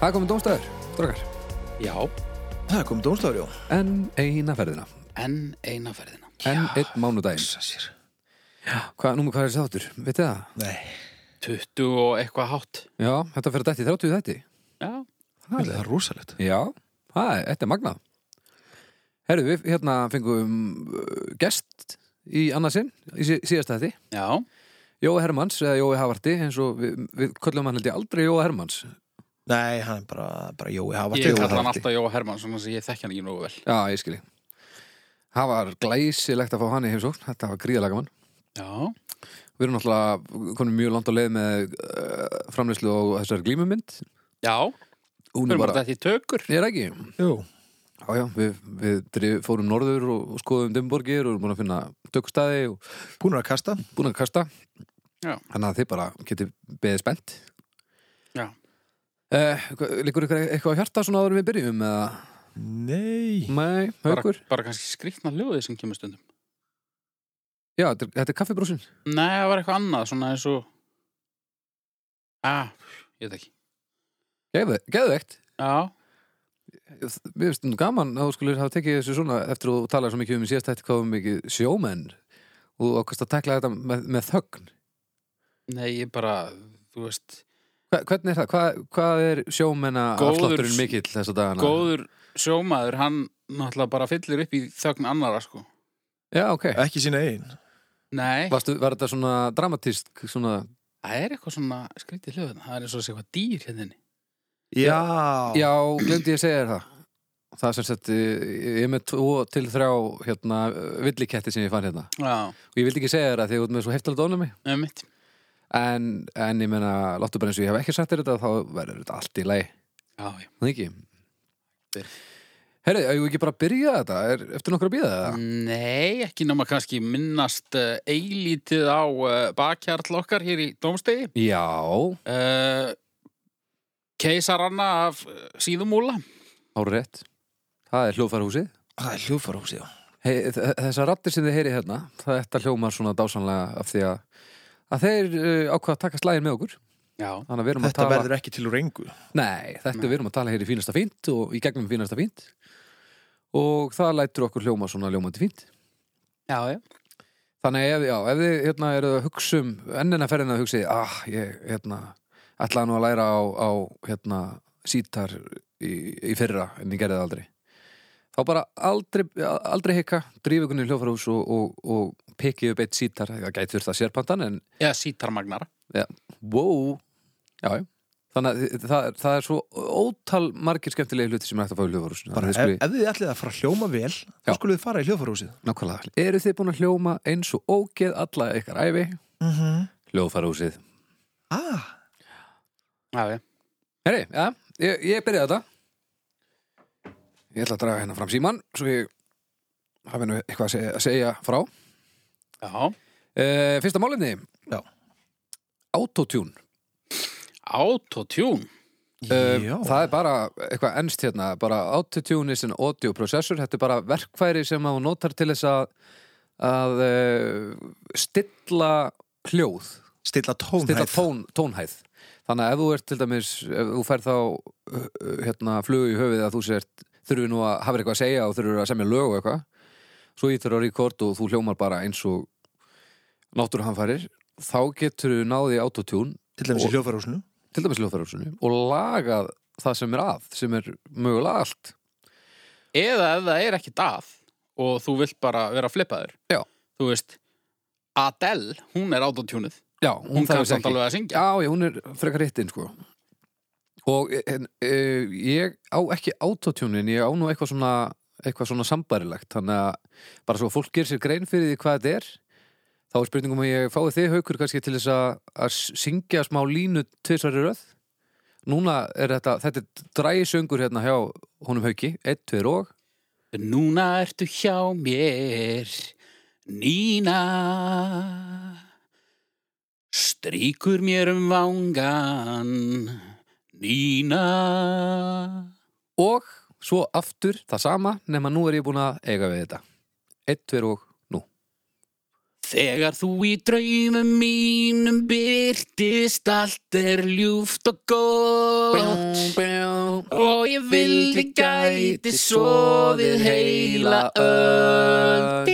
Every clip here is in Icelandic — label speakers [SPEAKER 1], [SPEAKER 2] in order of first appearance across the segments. [SPEAKER 1] Það er komin dómstæður, drakar
[SPEAKER 2] Já,
[SPEAKER 3] Það kom dómstafur, já
[SPEAKER 1] En eina ferðina
[SPEAKER 2] enn eina ferðina
[SPEAKER 1] En einn mánudaginn
[SPEAKER 3] Sér.
[SPEAKER 1] Hvað, númer, hvað er þessi þáttur? Vitið það?
[SPEAKER 3] Nei,
[SPEAKER 2] 20 og eitthvað hátt
[SPEAKER 1] Já, þetta fyrir dætti 30 þætti
[SPEAKER 2] Já,
[SPEAKER 3] það er rosalegt
[SPEAKER 1] Já, það er, þetta er magnað Herru, við hérna fengum uh, gest í annarsinn í sí- síðasta þætti
[SPEAKER 2] já,
[SPEAKER 1] Jói Hermanns eða Jói Havarti eins og við, við köllum hann held ég aldrei Jói Hermanns
[SPEAKER 3] Nei, hann er bara, bara Jói Havarti
[SPEAKER 2] ég kalla hann alltaf Jóa Hermann svona sem ég þekki hann ekki nógu vel
[SPEAKER 1] Já, ég skilji Það var glæsilegt að fá hann í heimsókn Þetta var gríðalega gaman
[SPEAKER 2] Já,
[SPEAKER 1] Við erum náttúrulega konum mjög langt á leið með uh, framleyslu og þessar glímumynd
[SPEAKER 2] já,
[SPEAKER 1] Hún
[SPEAKER 2] við
[SPEAKER 1] er
[SPEAKER 2] erum
[SPEAKER 1] bara,
[SPEAKER 2] þetta í tökur
[SPEAKER 1] ég er ekki
[SPEAKER 3] Jú,
[SPEAKER 1] Já, já, við, við drif, fórum norður og, og skoðum dimborgir og erum búin að finna tökustæði og
[SPEAKER 3] búnur að kasta
[SPEAKER 1] búin að kasta
[SPEAKER 2] Já.
[SPEAKER 1] Þannig að þið bara getið beðið spennt
[SPEAKER 2] Já,
[SPEAKER 1] eh, Liggur ykkur eitthvað á hjarta svona áður en við byrjum eða?
[SPEAKER 3] Nei
[SPEAKER 1] Nei,
[SPEAKER 2] bara,
[SPEAKER 1] haukur?
[SPEAKER 2] bara kannski skrýtna hljóðið sem kemur stundum
[SPEAKER 1] Já, þetta er, þetta er kaffibrúsin
[SPEAKER 2] Nei, það var eitthvað annað, svona eins og Ah, ég veit ekki
[SPEAKER 1] Geðu- Geðveikt
[SPEAKER 2] Já,
[SPEAKER 1] Mér finnst nú gaman að þú skulle hafa tekið þessu svona eftir að þú talaði svo mikið um í síðast eftir hvað um mikið sjómenn og þú ákast að tekla þetta með, með þögn
[SPEAKER 2] nei, ég bara, þú veist
[SPEAKER 1] Hva, Hvernig er það? Hvað, hvað er sjómenna
[SPEAKER 2] Góður-
[SPEAKER 1] afslátturinn mikill þessa dagana?
[SPEAKER 2] Góður sjómaður, hann náttúrulega bara fyllir upp í þögn annara, sko
[SPEAKER 1] Já, ok
[SPEAKER 3] Ekki sína einn
[SPEAKER 2] Nei,
[SPEAKER 1] Varstu, Var þetta svona dramatísk svona...
[SPEAKER 2] það er eitthvað svona skrýtið hljóðið Það er eins og þessi eitthvað dýr hérna inni.
[SPEAKER 3] Já,
[SPEAKER 1] Já, glemdi ég að segja þér það Það sem sett, ég er með tvo til þrjá hérna, villiketti sem ég fann hérna
[SPEAKER 2] Já,
[SPEAKER 1] og ég vildi ekki segja þér það því að þú ert með svo heftalegt ónæmi
[SPEAKER 2] um
[SPEAKER 1] en, en ég menna, láttu bara eins og ég hef ekki sagt þér þetta þá verður þetta allt í lagi
[SPEAKER 2] Já, já.
[SPEAKER 1] Það ekki
[SPEAKER 2] Byrj.
[SPEAKER 1] Herri, eigum við ekki bara að byrja þetta? Er, eftir nokkur að býða
[SPEAKER 2] Mm.
[SPEAKER 1] það?
[SPEAKER 2] Nei, ekki náma kannski minnast uh, eilítið á uh, bakhjarl okkar hér í Dómstegi.
[SPEAKER 1] Já,
[SPEAKER 2] Uh, keisaranna af uh, síðumúla.
[SPEAKER 1] ára rétt Það er hljófarhúsið
[SPEAKER 3] það er hljófarhús, já
[SPEAKER 1] hey, Þessar rattir sem þið heyri hérna það þetta hljómar svona dásanlega af því að, að þeir uh, ákvað að taka slægin með okkur
[SPEAKER 2] Já,
[SPEAKER 1] Þannig að við erum að
[SPEAKER 3] Þetta
[SPEAKER 1] tala
[SPEAKER 3] verður ekki til úr engu
[SPEAKER 1] Nei, þetta við erum að tala hér í fínasta fínt og í gegnum fínasta fínt og það lætur okkur hljóma svona hljómandi fínt
[SPEAKER 2] já, já.
[SPEAKER 1] Þannig að ef, já, ef þið hérna, eruð að hugsa um ennina ferðina að hugsa þið, ah, ég hérna, ætlaði nú að læra á, á hérna, sítar í, í fyrra en ég gerði það aldrei þá bara aldrei, aldrei hika drífa ykkur í hljófarhús og, og, og pikið upp eitt sítar, það gæti þurft að sérpantan en
[SPEAKER 2] Eða sítarmagnara.
[SPEAKER 1] wow já, já. þannig að þið- það, er- það er svo ótal margir skemmtilegi hluti sem er hægt að fá í hljófarhús
[SPEAKER 3] Bara, e- ef, ef þið ætlið að fara að hljóma vel
[SPEAKER 1] Já.
[SPEAKER 3] þá skulum við fara í hljófarhúsið
[SPEAKER 1] nákvæmlega, eru þið búin að hljóma eins og ógeð alla ykkar æfi
[SPEAKER 3] mm -hmm.
[SPEAKER 1] hljófarhúsið
[SPEAKER 3] ah,
[SPEAKER 2] Já, já.
[SPEAKER 1] Herri, já, ég, ég byrjaði þetta Ég ætla að draga hérna fram síman svo ég hafi nú eitthvað að segja, að segja frá
[SPEAKER 2] Já.
[SPEAKER 1] e, Fyrsta málinni
[SPEAKER 3] Já.
[SPEAKER 1] Autotune
[SPEAKER 2] Autotune.
[SPEAKER 1] Eh,
[SPEAKER 3] Já,
[SPEAKER 1] Það er bara eitthvað ennst hérna bara Autotune is an audio processor þetta er bara verkfæri sem að hún notar til þess að að e, stilla hljóð
[SPEAKER 3] stilla tón
[SPEAKER 1] stilla tón, tónhæð þannig að ef þú ert til dæmis ef þú færð þá uh, uh, hérna, flug í höfuðið að þú sért þurfi nú að hafa eitthvað að segja og þurfi að semja lög og eitthvað svo ítur á rekord og þú hljómar bara eins og náttúruhanfærir þá getur þú náði autotune
[SPEAKER 3] Til dæmis í
[SPEAKER 1] og-
[SPEAKER 3] hljófarhúsinu
[SPEAKER 1] til dæmis hljóðfærarsunni og lagað það sem er að sem er mögulega allt
[SPEAKER 2] Eða ef það er ekki dað og þú vilt bara vera flippaður.
[SPEAKER 1] Já.
[SPEAKER 2] Þú veist, Adele, hún er autotunuð.
[SPEAKER 1] Já,
[SPEAKER 2] Hún,
[SPEAKER 1] þarf
[SPEAKER 2] kann
[SPEAKER 1] þess
[SPEAKER 2] samt
[SPEAKER 1] ekki.
[SPEAKER 2] alveg að syngja.
[SPEAKER 1] Já, já, hún er frekar hittinn sko og en, uh, ég á ekki autotune en ég á nú eitthvað svona eitthvað svona sambarilegt þannig að bara svo að fólk gerir sér grein fyrir því hvað þetta er þá er spurningum að ég fái þig haukur kannski til þess að, að syngja smá línu tvisari röð núna er þetta, þetta er drægisöngur hérna hjá honum hauki, 1, 2 og
[SPEAKER 2] Núna ertu hjá mér, Nína. Stríkur mér um vangan, Nína.
[SPEAKER 1] og svo aftur það sama nema nú er ég búin að eiga við þetta 1, 2 og nú
[SPEAKER 2] Þegar þú í draumum mínum byrtist allt er ljúft og gott og ég vildi gæti sofið heila öll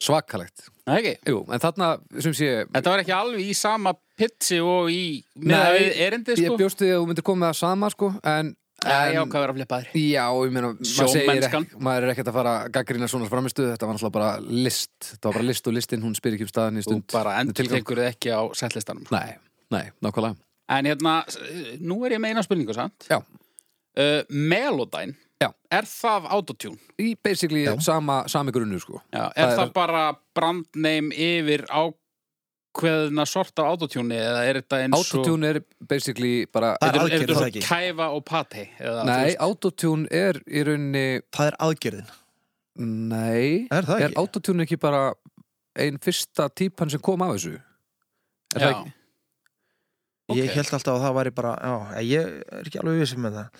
[SPEAKER 1] Svakalegt
[SPEAKER 2] Ok,
[SPEAKER 1] Jú, en þarna sem sé
[SPEAKER 2] þetta var ekki alveg í sama pitsi og í meða
[SPEAKER 1] Nei,
[SPEAKER 2] við erindi
[SPEAKER 1] Ég
[SPEAKER 2] sko
[SPEAKER 1] bjóst við að þú myndir koma með það sama sko En,
[SPEAKER 2] Já,
[SPEAKER 1] en
[SPEAKER 2] hvað var að flippa þér
[SPEAKER 1] Já, ég meina, maður, segir,
[SPEAKER 2] Sjómennskan.
[SPEAKER 1] ekki- maður er ekkert að fara að gaggrina svona framistuð, þetta var náttúrulega bara list þetta var bara list og listin, hún spyr ekki um staðan í
[SPEAKER 2] Þú
[SPEAKER 1] stund
[SPEAKER 2] bara
[SPEAKER 1] Þetta er
[SPEAKER 2] endur
[SPEAKER 1] tilgang.
[SPEAKER 2] tekur þið ekki á settlistanum
[SPEAKER 1] Nei, nei, nákvæmlega
[SPEAKER 2] En hérna, s- nú er ég með eina spurningu samt
[SPEAKER 1] Já.
[SPEAKER 2] uh, Melodyne
[SPEAKER 1] Já.
[SPEAKER 2] Er það autotune?
[SPEAKER 1] Í basically
[SPEAKER 3] Já.
[SPEAKER 1] sama, sami grunnu sko
[SPEAKER 2] Já, er
[SPEAKER 1] Það
[SPEAKER 2] það,
[SPEAKER 1] er-
[SPEAKER 2] bara brandneim yfir ákveðna sort af autotune eða er þetta eins og
[SPEAKER 1] Autotune er basically bara
[SPEAKER 3] Það er
[SPEAKER 2] Er- er
[SPEAKER 3] aðgerð,
[SPEAKER 2] þetta
[SPEAKER 3] það
[SPEAKER 2] svo
[SPEAKER 3] ekki?
[SPEAKER 2] kæfa og pati? Eða,
[SPEAKER 1] Nei,
[SPEAKER 2] þú veist-
[SPEAKER 1] autotune er í rauninni
[SPEAKER 3] Það er aðgerðin.
[SPEAKER 1] Nei,
[SPEAKER 3] Er það
[SPEAKER 1] er
[SPEAKER 3] ekki?
[SPEAKER 1] autotune ekki bara ein fyrsta típan sem kom af þessu? Er það
[SPEAKER 2] Já.
[SPEAKER 1] ekki?
[SPEAKER 2] ok.
[SPEAKER 3] Ég held alltaf að það væri bara, já, ég er ekki alveg um vissum með það.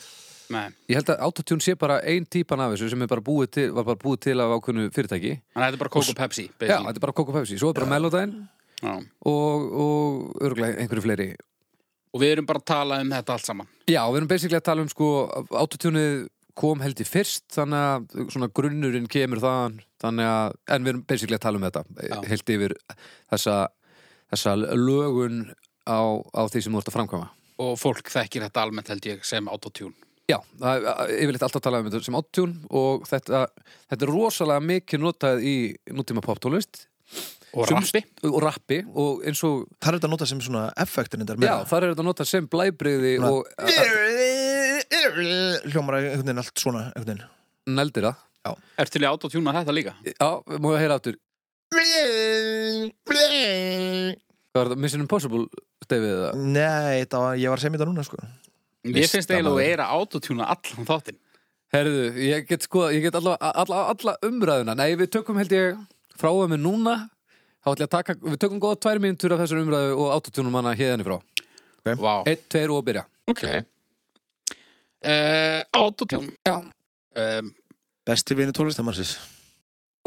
[SPEAKER 2] Nei.
[SPEAKER 1] Ég held að autotune sé bara ein típan af þessu sem er bara búið til, var bara búið til af ákveðnu fyrirtæki
[SPEAKER 2] Þannig að þetta er bara Coco Pepsi
[SPEAKER 1] Já,
[SPEAKER 2] basically.
[SPEAKER 1] þetta er bara Coco Pepsi, svo er bara Melodyne
[SPEAKER 2] Já.
[SPEAKER 1] og, og örgulega einhverju fleiri
[SPEAKER 2] Og við erum bara að tala um þetta allt saman
[SPEAKER 1] Já, við erum basically að tala um sko autotuneið kom held í fyrst þannig að svona grunnurinn kemur þaðan þannig að, en við erum basically að tala um þetta
[SPEAKER 2] Já.
[SPEAKER 1] held yfir þessa þessa lögun á, á því sem þú ert að framkvæma
[SPEAKER 2] og fólk þekkir þetta almennt held ég sem autotune
[SPEAKER 1] Já, það er yfirleitt alltaf talað um þetta sem autotune og þetta, þetta er rosalega mikið notað í nútíma poptólist
[SPEAKER 2] og
[SPEAKER 1] Sumst-
[SPEAKER 2] rappi
[SPEAKER 1] og rappi og eins og,
[SPEAKER 3] Það er þetta að nota sem svona effektin þetta
[SPEAKER 1] já, þar er þetta notað sem blæbriði og
[SPEAKER 3] Hljómar einhvern veginn allt svona, einhvern
[SPEAKER 1] neldir það
[SPEAKER 2] Er til í autotune að þetta líka?
[SPEAKER 1] Já, má ég heyra aftur
[SPEAKER 3] veginn.
[SPEAKER 1] Hvað var þetta, Mission Impossible, David? eða?
[SPEAKER 3] Nei, þetta var, ég var að segja mér þetta núna, sko.
[SPEAKER 2] Ég finnst eiginlega að
[SPEAKER 1] Listamaður.
[SPEAKER 2] þú er að autotuna allan þáttinn
[SPEAKER 1] Herðu, ég get sko, ég get alla, alla, alla umræðuna Nei, við tökum held ég frá að með núna Þá ætla ég að taka, við tökum góða tvær mínútur af þessar umræðu og autotunum hana hérðan í frá
[SPEAKER 2] Vá
[SPEAKER 1] Eitt, tveir og byrja
[SPEAKER 2] Ok uh, Autotune
[SPEAKER 1] Já,
[SPEAKER 2] um,
[SPEAKER 3] Besti vinu tólistamannsins.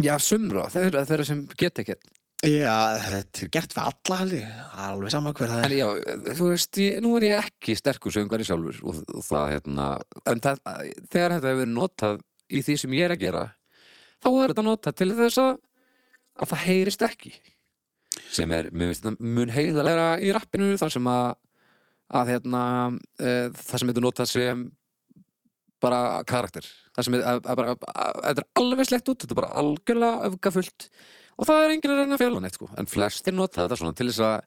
[SPEAKER 1] já sumra, þeirra, þeirra sem get ekkert
[SPEAKER 3] Já, þetta er gert við alla haldi. Alveg sama hver það
[SPEAKER 1] En já, þú veist, ég, nú er ég ekki sterkur söngari sjálfur og, og það, hérna En það, þegar þetta hefur verið notað í því sem ég er að gera þá er þetta notað til þess að að það heyrist ekki sem er, mér finnst þetta mun heiðalega í rappinu þar sem að að hérna, e, það sem þetta notað sem bara karakter það sem er, að, að bara, að, þetta er alveg slett út, þetta er bara algjörlega öfgafullt og það er enginn að reyna að fjalla neitt sko. en flestir nota þetta svona til þess að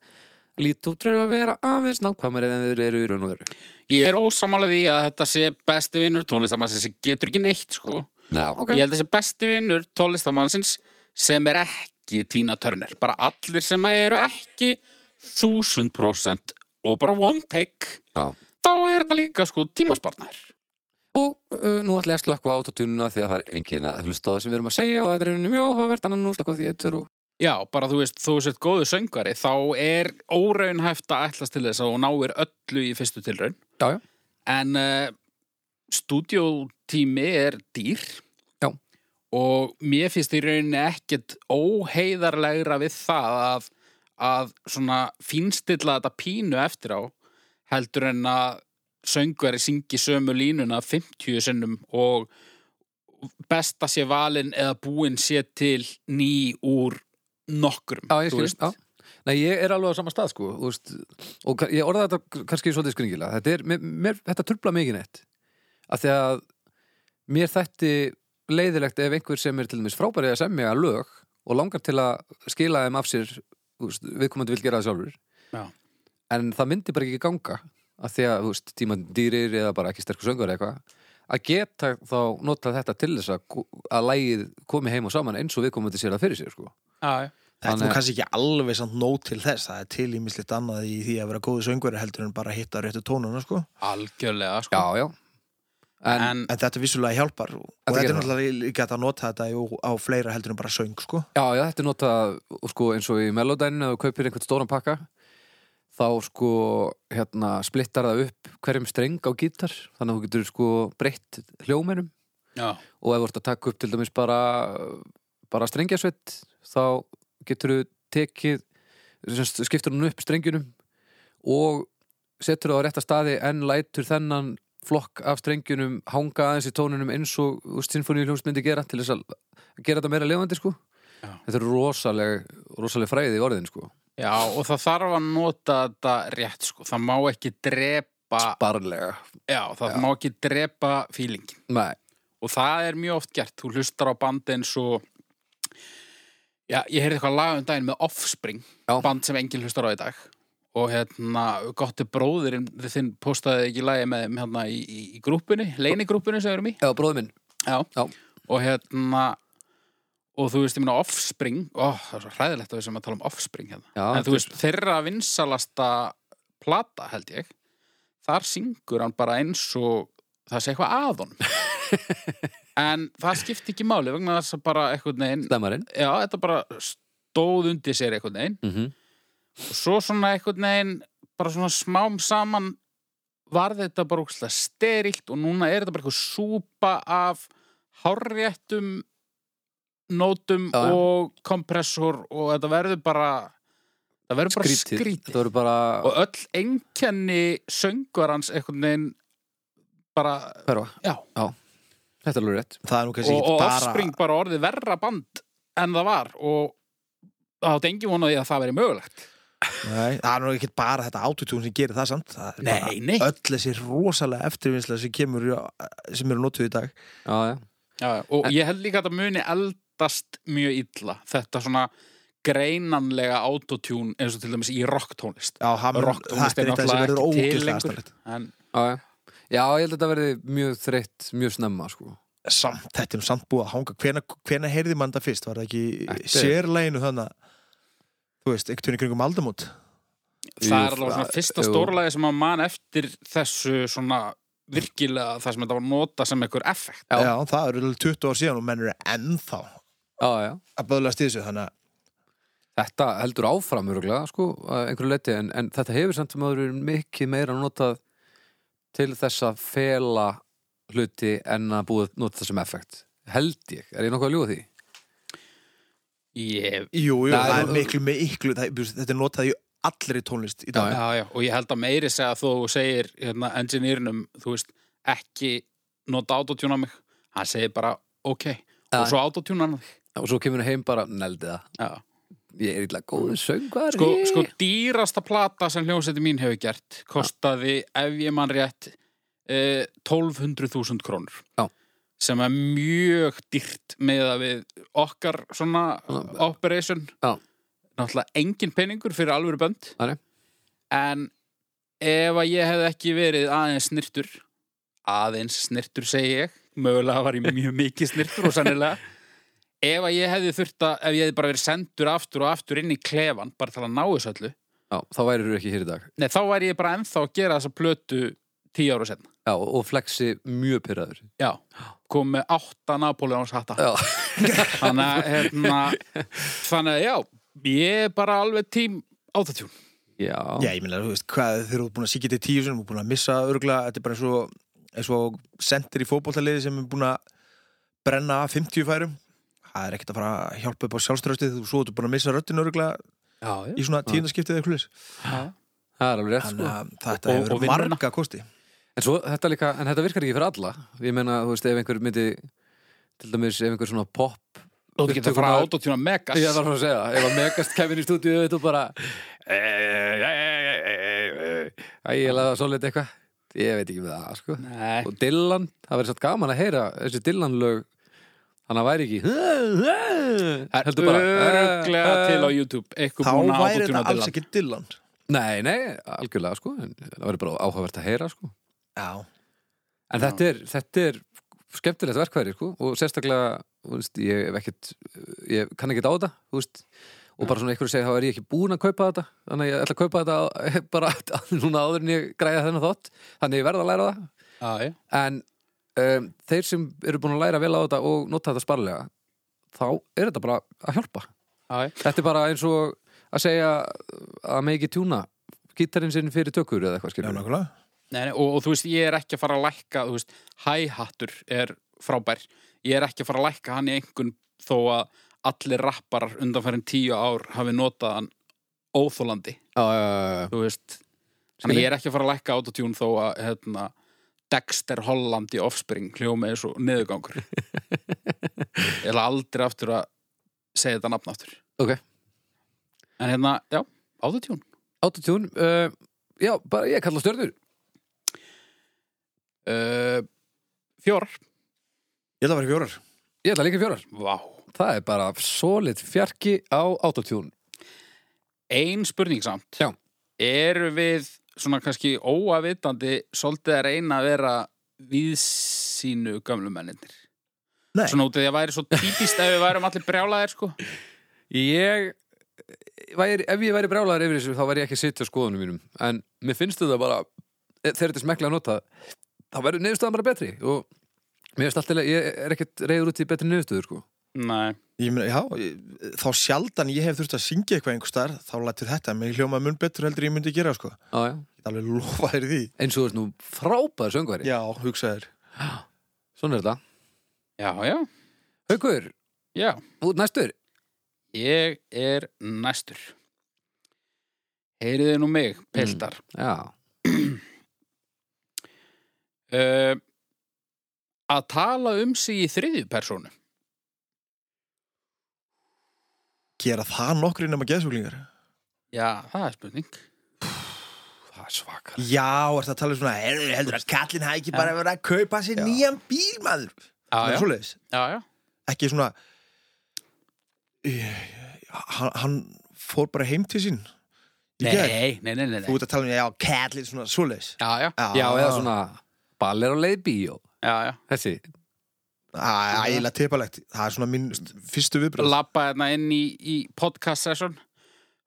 [SPEAKER 1] lítu út fyrir að vera aðeins nákvæmari en þeir eru í raun og veru
[SPEAKER 2] Ég er ósamála því að þetta sé besti vinnur tónlistamannsins sem getur ekki neitt sko
[SPEAKER 1] Já,
[SPEAKER 2] Ég held að þessi besti vinnur tónlistamannsins sem er ekki Tina Turner bara allir sem eru ekki 1000% og bara one take
[SPEAKER 1] Já.
[SPEAKER 2] þá er þetta líka sko tímaspartnar
[SPEAKER 1] Og uh, nú ætla ég að slökka á autotununa því að það er enginn að hlusta á það sem við erum að segja og þetta er einnig mjög áhugavert en nú slökka á því eittur og
[SPEAKER 2] Já, bara þú veist, þú sért góðu söngari þá er óraunhæft að ætlast til þess að þú náir öllu í fyrstu tilraun
[SPEAKER 1] Já, já.
[SPEAKER 2] En uh, stúdiótími er dýr
[SPEAKER 1] Já.
[SPEAKER 2] og mér finnst í rauninni ekkert óheiðarlegra við það að, að svona fínstilla þetta pínu eftir á heldur en að söngveri syngi sömu línuna 50 sinnum og besta sé valin eða búin sé til ný úr nokkrum.
[SPEAKER 1] Já, ég
[SPEAKER 2] þú
[SPEAKER 1] skil,
[SPEAKER 2] veist.
[SPEAKER 1] já. Nei, ég er alveg á sama stað, sko, þú veist, og ka- ég orða þetta kannski svolítið skringilega. Þetta er, mér, mér, þetta trubla mikið neitt. Af því að mér þætti leiðilegt ef einhver sem er til dæmis frábærið að semja lög og langar til að skila þeim af sér, þú veist, viðkomandi vil gera það sjálfur.
[SPEAKER 2] Já.
[SPEAKER 1] En það myndi bara ekki ganga, af því að, þú veist, tímandi dýrir eða bara ekki sterkur söngur eða eitthvað, að geta þá notað þetta til þess að, ko- að lægið komi heim og saman eins og viðkomandi sér það fyrir sér, sko.
[SPEAKER 2] Já, já.
[SPEAKER 3] Þetta er
[SPEAKER 1] Þannig-
[SPEAKER 3] nú kannski ekki alveg samt nót til þess. Það er til ímislegt annað í því að vera góðu söngveri heldur en bara að hitta réttu tónuna, sko.
[SPEAKER 2] Algjörlega, sko.
[SPEAKER 1] Já, já. En,
[SPEAKER 2] En,
[SPEAKER 3] En þetta vissulega hjálpar og
[SPEAKER 1] Þetta
[SPEAKER 3] þetta
[SPEAKER 1] gerir
[SPEAKER 3] er
[SPEAKER 1] það.
[SPEAKER 3] náttúrulega líka hægt að nota þetta jú, á fleira heldur en bara söng, sko.
[SPEAKER 1] já, já, þetta er notað og sko, eins og í Melodyne ef þú kaupir einhvern stóran pakka þá sko, hérna, splittar það upp hverjum streng á gítar þannig að þú getur sko breytt hljómenum
[SPEAKER 2] já.
[SPEAKER 1] og ef þú ert að taka upp til dæmis bara bara strengjasveit þá getur þú tekið semst, skiptir hún upp strengjunum og setur það á rétta staði en lætur þennan flokk af strengjunum hanga aðeins í tónunum eins og sinfoníuljómsd myndi gera til þess að gera þetta meira lefandi sko
[SPEAKER 2] Já.
[SPEAKER 1] þetta er rosaleg, rosaleg fræði í orðin sko
[SPEAKER 2] Já, og það þarf að nota þetta rétt, sko. Það má ekki drepa,
[SPEAKER 1] barlega
[SPEAKER 2] já, það má ekki drepa fílingin.
[SPEAKER 1] Nei,
[SPEAKER 2] Og það er mjög oft gert. Þú hlustar á bandi eins og, já, ég heyrði eitthvað lag um daginn með Offspring,
[SPEAKER 1] Já.
[SPEAKER 2] band sem enginn hlustar á í dag. Og hérna, gotti bróðirinn, þinn postaði ekki lagi með þeim hérna í, í, í grúpunni, leinigrúpunni sem við erum í.
[SPEAKER 1] eða bróði minn
[SPEAKER 2] Já.
[SPEAKER 1] Já.
[SPEAKER 2] Og hérna, og þú veist, ég minna Offspring, ó, það er svo hræðilegt að við sem að tala um Offspring hérna.
[SPEAKER 1] Já,
[SPEAKER 2] en þú veist, þeirra vinsalasta plata held ég þar syngur hann bara eins og það sé eitthvað að honum en það skipti ekki máli vegna þess að bara eitthvað neginn
[SPEAKER 1] stemmarinn
[SPEAKER 2] já, þetta bara stóð undir sér eitthvað neginn
[SPEAKER 1] mm -hmm.
[SPEAKER 2] og svo svona eitthvað neginn bara svona smám saman var þetta bara úkslega sterilt og núna er þetta bara eitthvað súpa af hárréttum nótum
[SPEAKER 1] Já, já.
[SPEAKER 2] og kompressor og þetta verður bara það verður bara
[SPEAKER 1] Skrítið,
[SPEAKER 2] skrítið
[SPEAKER 1] þetta voru bara
[SPEAKER 2] og öll einkenni söngvarans einhvern veginn bara,
[SPEAKER 1] Hverfa.
[SPEAKER 2] já
[SPEAKER 1] Þetta er alveg rétt
[SPEAKER 3] það er nú kannski
[SPEAKER 2] og,
[SPEAKER 3] ekki
[SPEAKER 2] og
[SPEAKER 3] bara
[SPEAKER 2] offspring bara orðið verra band en það var og það átti engin vonaði að það veri mögulegt
[SPEAKER 3] Nei, það er nú ekki bara þetta autotune sem gerir það samt það er
[SPEAKER 2] Nei,
[SPEAKER 3] bara
[SPEAKER 2] nei.
[SPEAKER 3] öll þessi rosalega eftirvinnsla sem kemur í- sem eru notuð í dag
[SPEAKER 1] Já, já,
[SPEAKER 2] já, og ég held líka að þetta muni eldast mjög illa þetta svona greinanlega autotune eins og til dæmis í rocktónlist
[SPEAKER 3] Já, hann,
[SPEAKER 2] Rock tónlist
[SPEAKER 3] þetta
[SPEAKER 2] er
[SPEAKER 3] er eitthvað sem
[SPEAKER 2] náttúrulega
[SPEAKER 3] verður
[SPEAKER 2] ekki til
[SPEAKER 3] ógeðslega
[SPEAKER 2] lengur.
[SPEAKER 3] starlegt
[SPEAKER 2] en
[SPEAKER 1] já, já. já, ég held að þetta verði mjög þreytt, mjög snemma sko.
[SPEAKER 3] samt, þetta er nú samt búið að hanga hvena, hvena heyrði mann það fyrst, var það
[SPEAKER 1] Þetta
[SPEAKER 3] ekki
[SPEAKER 1] er-
[SPEAKER 3] sérleginu þannig að þú veist, ekkert í kringum aldamót
[SPEAKER 2] það er
[SPEAKER 1] Jú,
[SPEAKER 2] alveg svona
[SPEAKER 1] það-
[SPEAKER 2] fyrsta
[SPEAKER 1] jú.
[SPEAKER 2] stórlagi sem að man eftir þessu svona virkilega það sem þetta var nota sem einhver effekt
[SPEAKER 1] Já.
[SPEAKER 3] já. það eru alveg 20 ár síðan og menn eru ennþá
[SPEAKER 1] Já, já,
[SPEAKER 3] að böðlast í þessu, þannig að
[SPEAKER 1] þetta heldur áfram öruglega, sko, að einhverju leiti en, en þetta hefur samt sem aður mikið meira notað til þess að fela hluti en að búið að nota það sem effekt held ég, er ég nokkuð að ljúga því?
[SPEAKER 2] ég
[SPEAKER 3] jú, jú,
[SPEAKER 1] Nei,
[SPEAKER 3] það er
[SPEAKER 1] þú-
[SPEAKER 3] miklu með yklu það, þetta er notað í allri tónlist í dag
[SPEAKER 1] Já,
[SPEAKER 2] já, já, og ég held að meiri segja að þú segir hérna, engineerinum, þú veist, ekki nota autotune á mig hann segir bara, ok,
[SPEAKER 1] Já.
[SPEAKER 2] og svo autotune hann
[SPEAKER 1] Og svo kemur hann heim bara, neldi það
[SPEAKER 2] já.
[SPEAKER 1] ég er illa góðu söngvari
[SPEAKER 2] sko, sko dýrasta plata sem hljómsætti mín hefur gert kostaði, ef ég man rétt eh, 1200.000 krónur
[SPEAKER 1] Já.
[SPEAKER 2] sem er mjög dýrt með að við okkar svona
[SPEAKER 1] Já.
[SPEAKER 2] operation
[SPEAKER 1] Já.
[SPEAKER 2] náttúrulega engin peningur fyrir alvöru bönd
[SPEAKER 1] Nei.
[SPEAKER 2] en ef að ég hefði ekki verið aðeins snirtur aðeins snirtur segi ég mögulega var ég mjög mikið snirtur og sannilega ef að ég hefði þurft að ef ég hefði bara verið sendur aftur og aftur inn í klefan bara til að ná þessu öllu
[SPEAKER 1] Já, þá værir þú ekki hér í dag
[SPEAKER 2] nei, þá væri ég bara ennþá að gera þessa plötu tíu ára setna
[SPEAKER 1] Já, og flexi mjög pyrraður
[SPEAKER 2] já, kom með átta Napoleons hatta
[SPEAKER 1] Já,
[SPEAKER 2] þannig að hérna, þannig að já, ég er bara alveg tím átatjún
[SPEAKER 1] já,
[SPEAKER 3] Já, ég meina, þú veist, hvað þeir eru búin að síkja til tíu sem eru búin að missa örgulega, þetta er bara eins og eins og sendir í fótboltaliði sem er búin að brenna af 50 færum það er ekkert að fara að hjálpa upp á sjálfströstið þú svo ertu búin að missa röddin örgulega
[SPEAKER 1] já, já.
[SPEAKER 3] í svona tíðnaskiptið eða hlulis
[SPEAKER 1] Það er alveg rétt sko
[SPEAKER 3] þannig að þetta
[SPEAKER 2] Og- og
[SPEAKER 3] hefur
[SPEAKER 2] vinnurna.
[SPEAKER 3] marga kosti
[SPEAKER 1] En svo, þetta líka, en þetta virkar ekki fyrir alla Ég meina, þú veist, ef einhver myndi til dæmis, ef einhver svona pop
[SPEAKER 2] þú getur að fara að autotjúna megas
[SPEAKER 1] Ég þarf að segja það, ef að megast kemur í stúdíu þú bara Æ, ég laði það svolítið eitthvað Ég veit ekki með það, sko
[SPEAKER 2] Nei.
[SPEAKER 1] Og Dylan, það verður satt gaman að heyra þessi Dylan lög Þannig að væri ekki
[SPEAKER 2] Það er
[SPEAKER 1] Heldur bara Eh,
[SPEAKER 2] öruglega til á YouTube eitthvað
[SPEAKER 3] þá
[SPEAKER 2] búin að
[SPEAKER 3] væri
[SPEAKER 2] autotjúna
[SPEAKER 3] þetta alls
[SPEAKER 2] Dylan
[SPEAKER 3] ekki Dylan
[SPEAKER 1] Nei, nei, algjörlega, sko en Það verður bara áhugavert að heyra, sko
[SPEAKER 3] Já,
[SPEAKER 1] En
[SPEAKER 2] Já.
[SPEAKER 1] þetta er, þetta er skemmtilegt verkværi sko, og sérstaklega þú veist, ég, hef ekkit, ég kann ekkert á þetta þú veist, og bara svona einhverju segja þá er ég ekki búin að kaupa þetta þannig að ég ætla að kaupa þetta á, bara núna áður en ég græða þennan þátt þannig að ég verð að læra það
[SPEAKER 2] Já, já.
[SPEAKER 1] en um, þeir sem eru búin að læra vel á þetta og nota þetta sparlega þá er þetta bara að hjálpa
[SPEAKER 2] Já, já.
[SPEAKER 1] þetta er bara eins og að segja að megi ekki tjúna gítarinn sinn fyrir tökur eða eitthvað
[SPEAKER 3] já
[SPEAKER 1] skilur
[SPEAKER 3] nákvæmlega
[SPEAKER 2] Nei, nei, og, og þú veist, ég er ekki að fara að lækka þú veist, hi-hattur er frábær ég er ekki að fara að lækka hann í einhvern þó að allir rapparar undanfærin tíu ár hafi notað hann óþólandi,
[SPEAKER 1] já, já, já, já.
[SPEAKER 2] þú veist þannig að ég er ekki að fara að lækka autotune þó að hérna, Dexter Holland í Offspring hljóma eins og neðugangur ég ætla aldrei aftur að segja þetta nafn aftur
[SPEAKER 1] Ok.
[SPEAKER 2] en hérna, já, autotune
[SPEAKER 1] Autotune, uh, já, bara ég kalla stjörnur
[SPEAKER 2] uh, fjórar
[SPEAKER 3] Ég ætla að vera fjórar
[SPEAKER 1] Ég ætla líka fjórar
[SPEAKER 2] Vá.
[SPEAKER 1] Það er bara solid fjarki á autotune
[SPEAKER 2] ein spurning samt
[SPEAKER 1] Já.
[SPEAKER 2] eru við svona kannski óavitandi svolítið að reyna að vera við sínu gömlu mennindir
[SPEAKER 3] Nei,
[SPEAKER 2] svona út af því að væri svo típist ef við værum allir brjálaðir sko
[SPEAKER 1] Ég eh, væri, Ef ég væri brjálaður yfir þessu þá væri ég ekki að sitja á skoðunum mínum En mér finnst þetta bara e, Þegar þetta er smekklega að nota þá verður niðurstaðan bara betri og mér finnst alltaf ég er ekkert reyður út í betri niðurstöður sko.
[SPEAKER 2] Nei.
[SPEAKER 3] ég meina, já, ég- þá sjaldan ég hef þurft að syngja eitthvað einhver staðar, þá lætur þetta mig hljóma mun betur heldur en ég myndi gera, sko. Ég
[SPEAKER 1] á, já.
[SPEAKER 3] get alveg lofa þér því.
[SPEAKER 1] Eins og þú ert nú frábæður söngværi
[SPEAKER 3] Já, hugsa þér.
[SPEAKER 1] Svona er þetta
[SPEAKER 2] já, já,
[SPEAKER 1] Haukur,
[SPEAKER 2] já
[SPEAKER 1] út næstur
[SPEAKER 2] ég er næstur heyriði nú mig, peltar
[SPEAKER 1] Já,
[SPEAKER 2] uh, að tala um sig í þriðju persónu
[SPEAKER 3] Gera það nokkri nema geðsúklingar.
[SPEAKER 2] já, það er spurning
[SPEAKER 1] það er svakar
[SPEAKER 3] Já, er það að tala um svona, "Heyrðu, heldur að kallinn hafi ekki bara verið að kaupa sér nýjan bíl, maður. Það
[SPEAKER 2] já,
[SPEAKER 3] er
[SPEAKER 2] já,
[SPEAKER 3] svoleiðis.
[SPEAKER 2] já, já.
[SPEAKER 3] Ekki svona, Ég- hann, hann fór bara heim til sín. Í gær.
[SPEAKER 2] Nei, nei, nei, nei,
[SPEAKER 3] Þú
[SPEAKER 2] nei.
[SPEAKER 3] ert að tala um, já, kallinn, svona svoleiðis.
[SPEAKER 2] Já, já,
[SPEAKER 1] Já, eða svona Ball er á leið í bíó
[SPEAKER 2] já, já
[SPEAKER 1] Þessi,
[SPEAKER 3] Æ, ægilega tepalegt. Það er svona mín fyrstu viðbröð.
[SPEAKER 2] lappa hérna inn í, í podcast session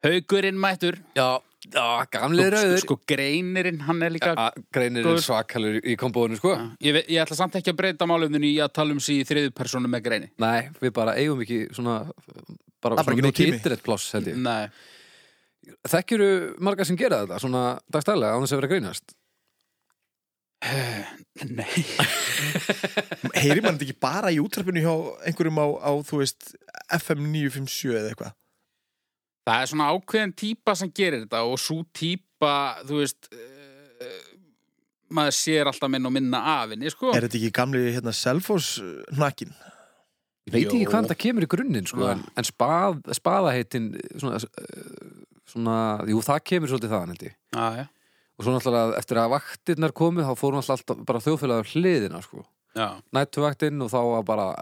[SPEAKER 2] Haugurinn mættur
[SPEAKER 1] já, já gamli rauður
[SPEAKER 2] Sko greinirinn hann er líka
[SPEAKER 1] A- Greinir
[SPEAKER 2] Góður.
[SPEAKER 1] er svakalur í kombóinu sko
[SPEAKER 2] ég, ve- ég ætla samt ekki að breyta málumðinu í að tala um sig í þriðu persónu með greini
[SPEAKER 1] Nei, við bara eigum ekki svona bara,
[SPEAKER 3] Það er bara ekki
[SPEAKER 1] svona
[SPEAKER 3] nóg
[SPEAKER 1] mikið
[SPEAKER 3] tími.
[SPEAKER 1] internetpláss held ég
[SPEAKER 2] Nei,
[SPEAKER 1] Þekkjuru marga sem gera þetta svona dagstælega án þess að vera að greinast
[SPEAKER 2] nei
[SPEAKER 3] Heyrir mann þetta ekki bara í útrafinu hjá einhverjum á, á þú veist, FM 957 eða eitthvað?
[SPEAKER 2] Það er svona ákveðin típa sem gerir þetta og svo típa, þú veist uh, maður sér alltaf minn og minna af henni, sko
[SPEAKER 3] Er þetta ekki gamli hérna Selfoss nakin?
[SPEAKER 1] Ég veit ekki
[SPEAKER 2] Jó.
[SPEAKER 1] hvaðan það kemur í grunninn sko,
[SPEAKER 2] Nei.
[SPEAKER 1] en, en spað, spaðaheitin svona, eh, svona, jú það kemur svolítið þaðan held ég
[SPEAKER 2] Ah, Já, já,
[SPEAKER 1] og svo náttúrulega eftir að vaktirnar komu þá fórum alltaf alltaf bara þjóðfélagur hliðina sko.
[SPEAKER 2] já
[SPEAKER 1] nættuvaktinn og þá var bara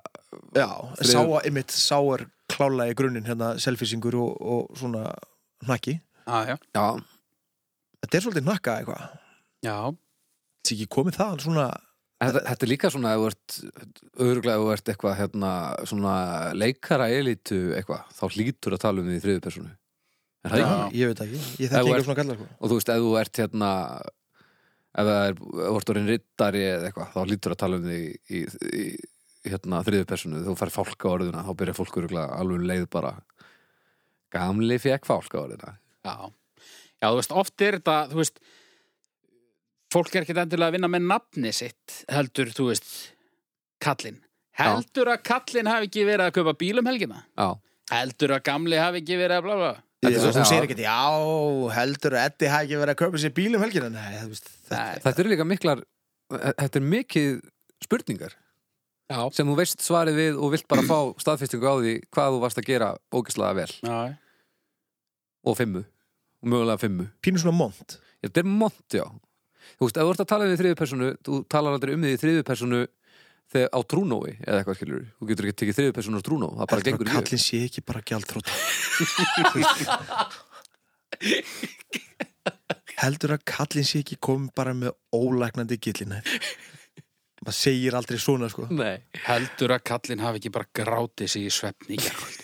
[SPEAKER 3] Já,
[SPEAKER 1] Þriður-
[SPEAKER 3] sá, einmitt, sá er klála í grunninn hérna selfisingur og, og svona naki.
[SPEAKER 2] ah, Já, já,
[SPEAKER 1] já,
[SPEAKER 3] Þetta er svolítið nakka eitthvað.
[SPEAKER 2] já,
[SPEAKER 3] Þetta er ekki komið það svona...
[SPEAKER 1] En Þetta, þetta er líka svona ef þú ert, öruglega ef þú ert eitthvað hérna, svona leikara elitu eitthvað, þá hlýtur að tala um því í þriðu personu er það ekki?
[SPEAKER 2] Já.
[SPEAKER 3] Ég veit ekki. Ég
[SPEAKER 1] Ef
[SPEAKER 3] þekki
[SPEAKER 1] þú
[SPEAKER 3] ekki
[SPEAKER 1] ert-
[SPEAKER 3] svona kallar. Sko.
[SPEAKER 1] Og þú veist, ef þú ert hérna ef það er, ef þú ert orðin rittari eða eitthvað, þá hlýtur að tala um því í, í, í hérna þriðu personu þú fær fálka orðina, þá byrjar fólk öruglega alveg um leið bara gamli fekk fálka orðina
[SPEAKER 2] Já, já, þú veist, oft er þetta, þú veist, fólk er ekkert endilega að vinna með nafni sitt, heldur, þú veist, kallinn. Heldur að kallinn hafi ekki verið að kaupa bílum helgina?
[SPEAKER 1] Já,
[SPEAKER 2] Heldur að gamli hafi ekki verið að bla bla?
[SPEAKER 1] Þetta er
[SPEAKER 3] Þú
[SPEAKER 1] svo- já.
[SPEAKER 3] segir ekkert, já, heldur að Eddi hafi ekki verið að köpa sér bílum helgina. Nei, þú veist,
[SPEAKER 2] Nei,
[SPEAKER 1] þetta eru líka miklar þetta er mikið spurningar
[SPEAKER 2] já.
[SPEAKER 1] sem þú veist svarið við og vilt bara fá staðfestingu á því hvað þú varst að gera ógæslega vel
[SPEAKER 2] Já,
[SPEAKER 1] og fimmu, og mögulega fimmu
[SPEAKER 3] pínu svona mont.
[SPEAKER 1] þetta er mont, já þú veist, ef þú ert að tala um því þriðu personu þú talar aldrei um því þriðu personu þegar á trúnói eða eitthvað skilur þú getur ekki tekið þriðu personu á trúnó það bara gengur ekki
[SPEAKER 3] Kallin sé ekki bara gjaldþrótt Heldur að kallin sé ekki komin bara með ólæknandi gillina maður segir aldrei svona sko
[SPEAKER 1] Nei.
[SPEAKER 2] heldur að kallinn hafi ekki bara grátið sig í svefni í gerkvöld.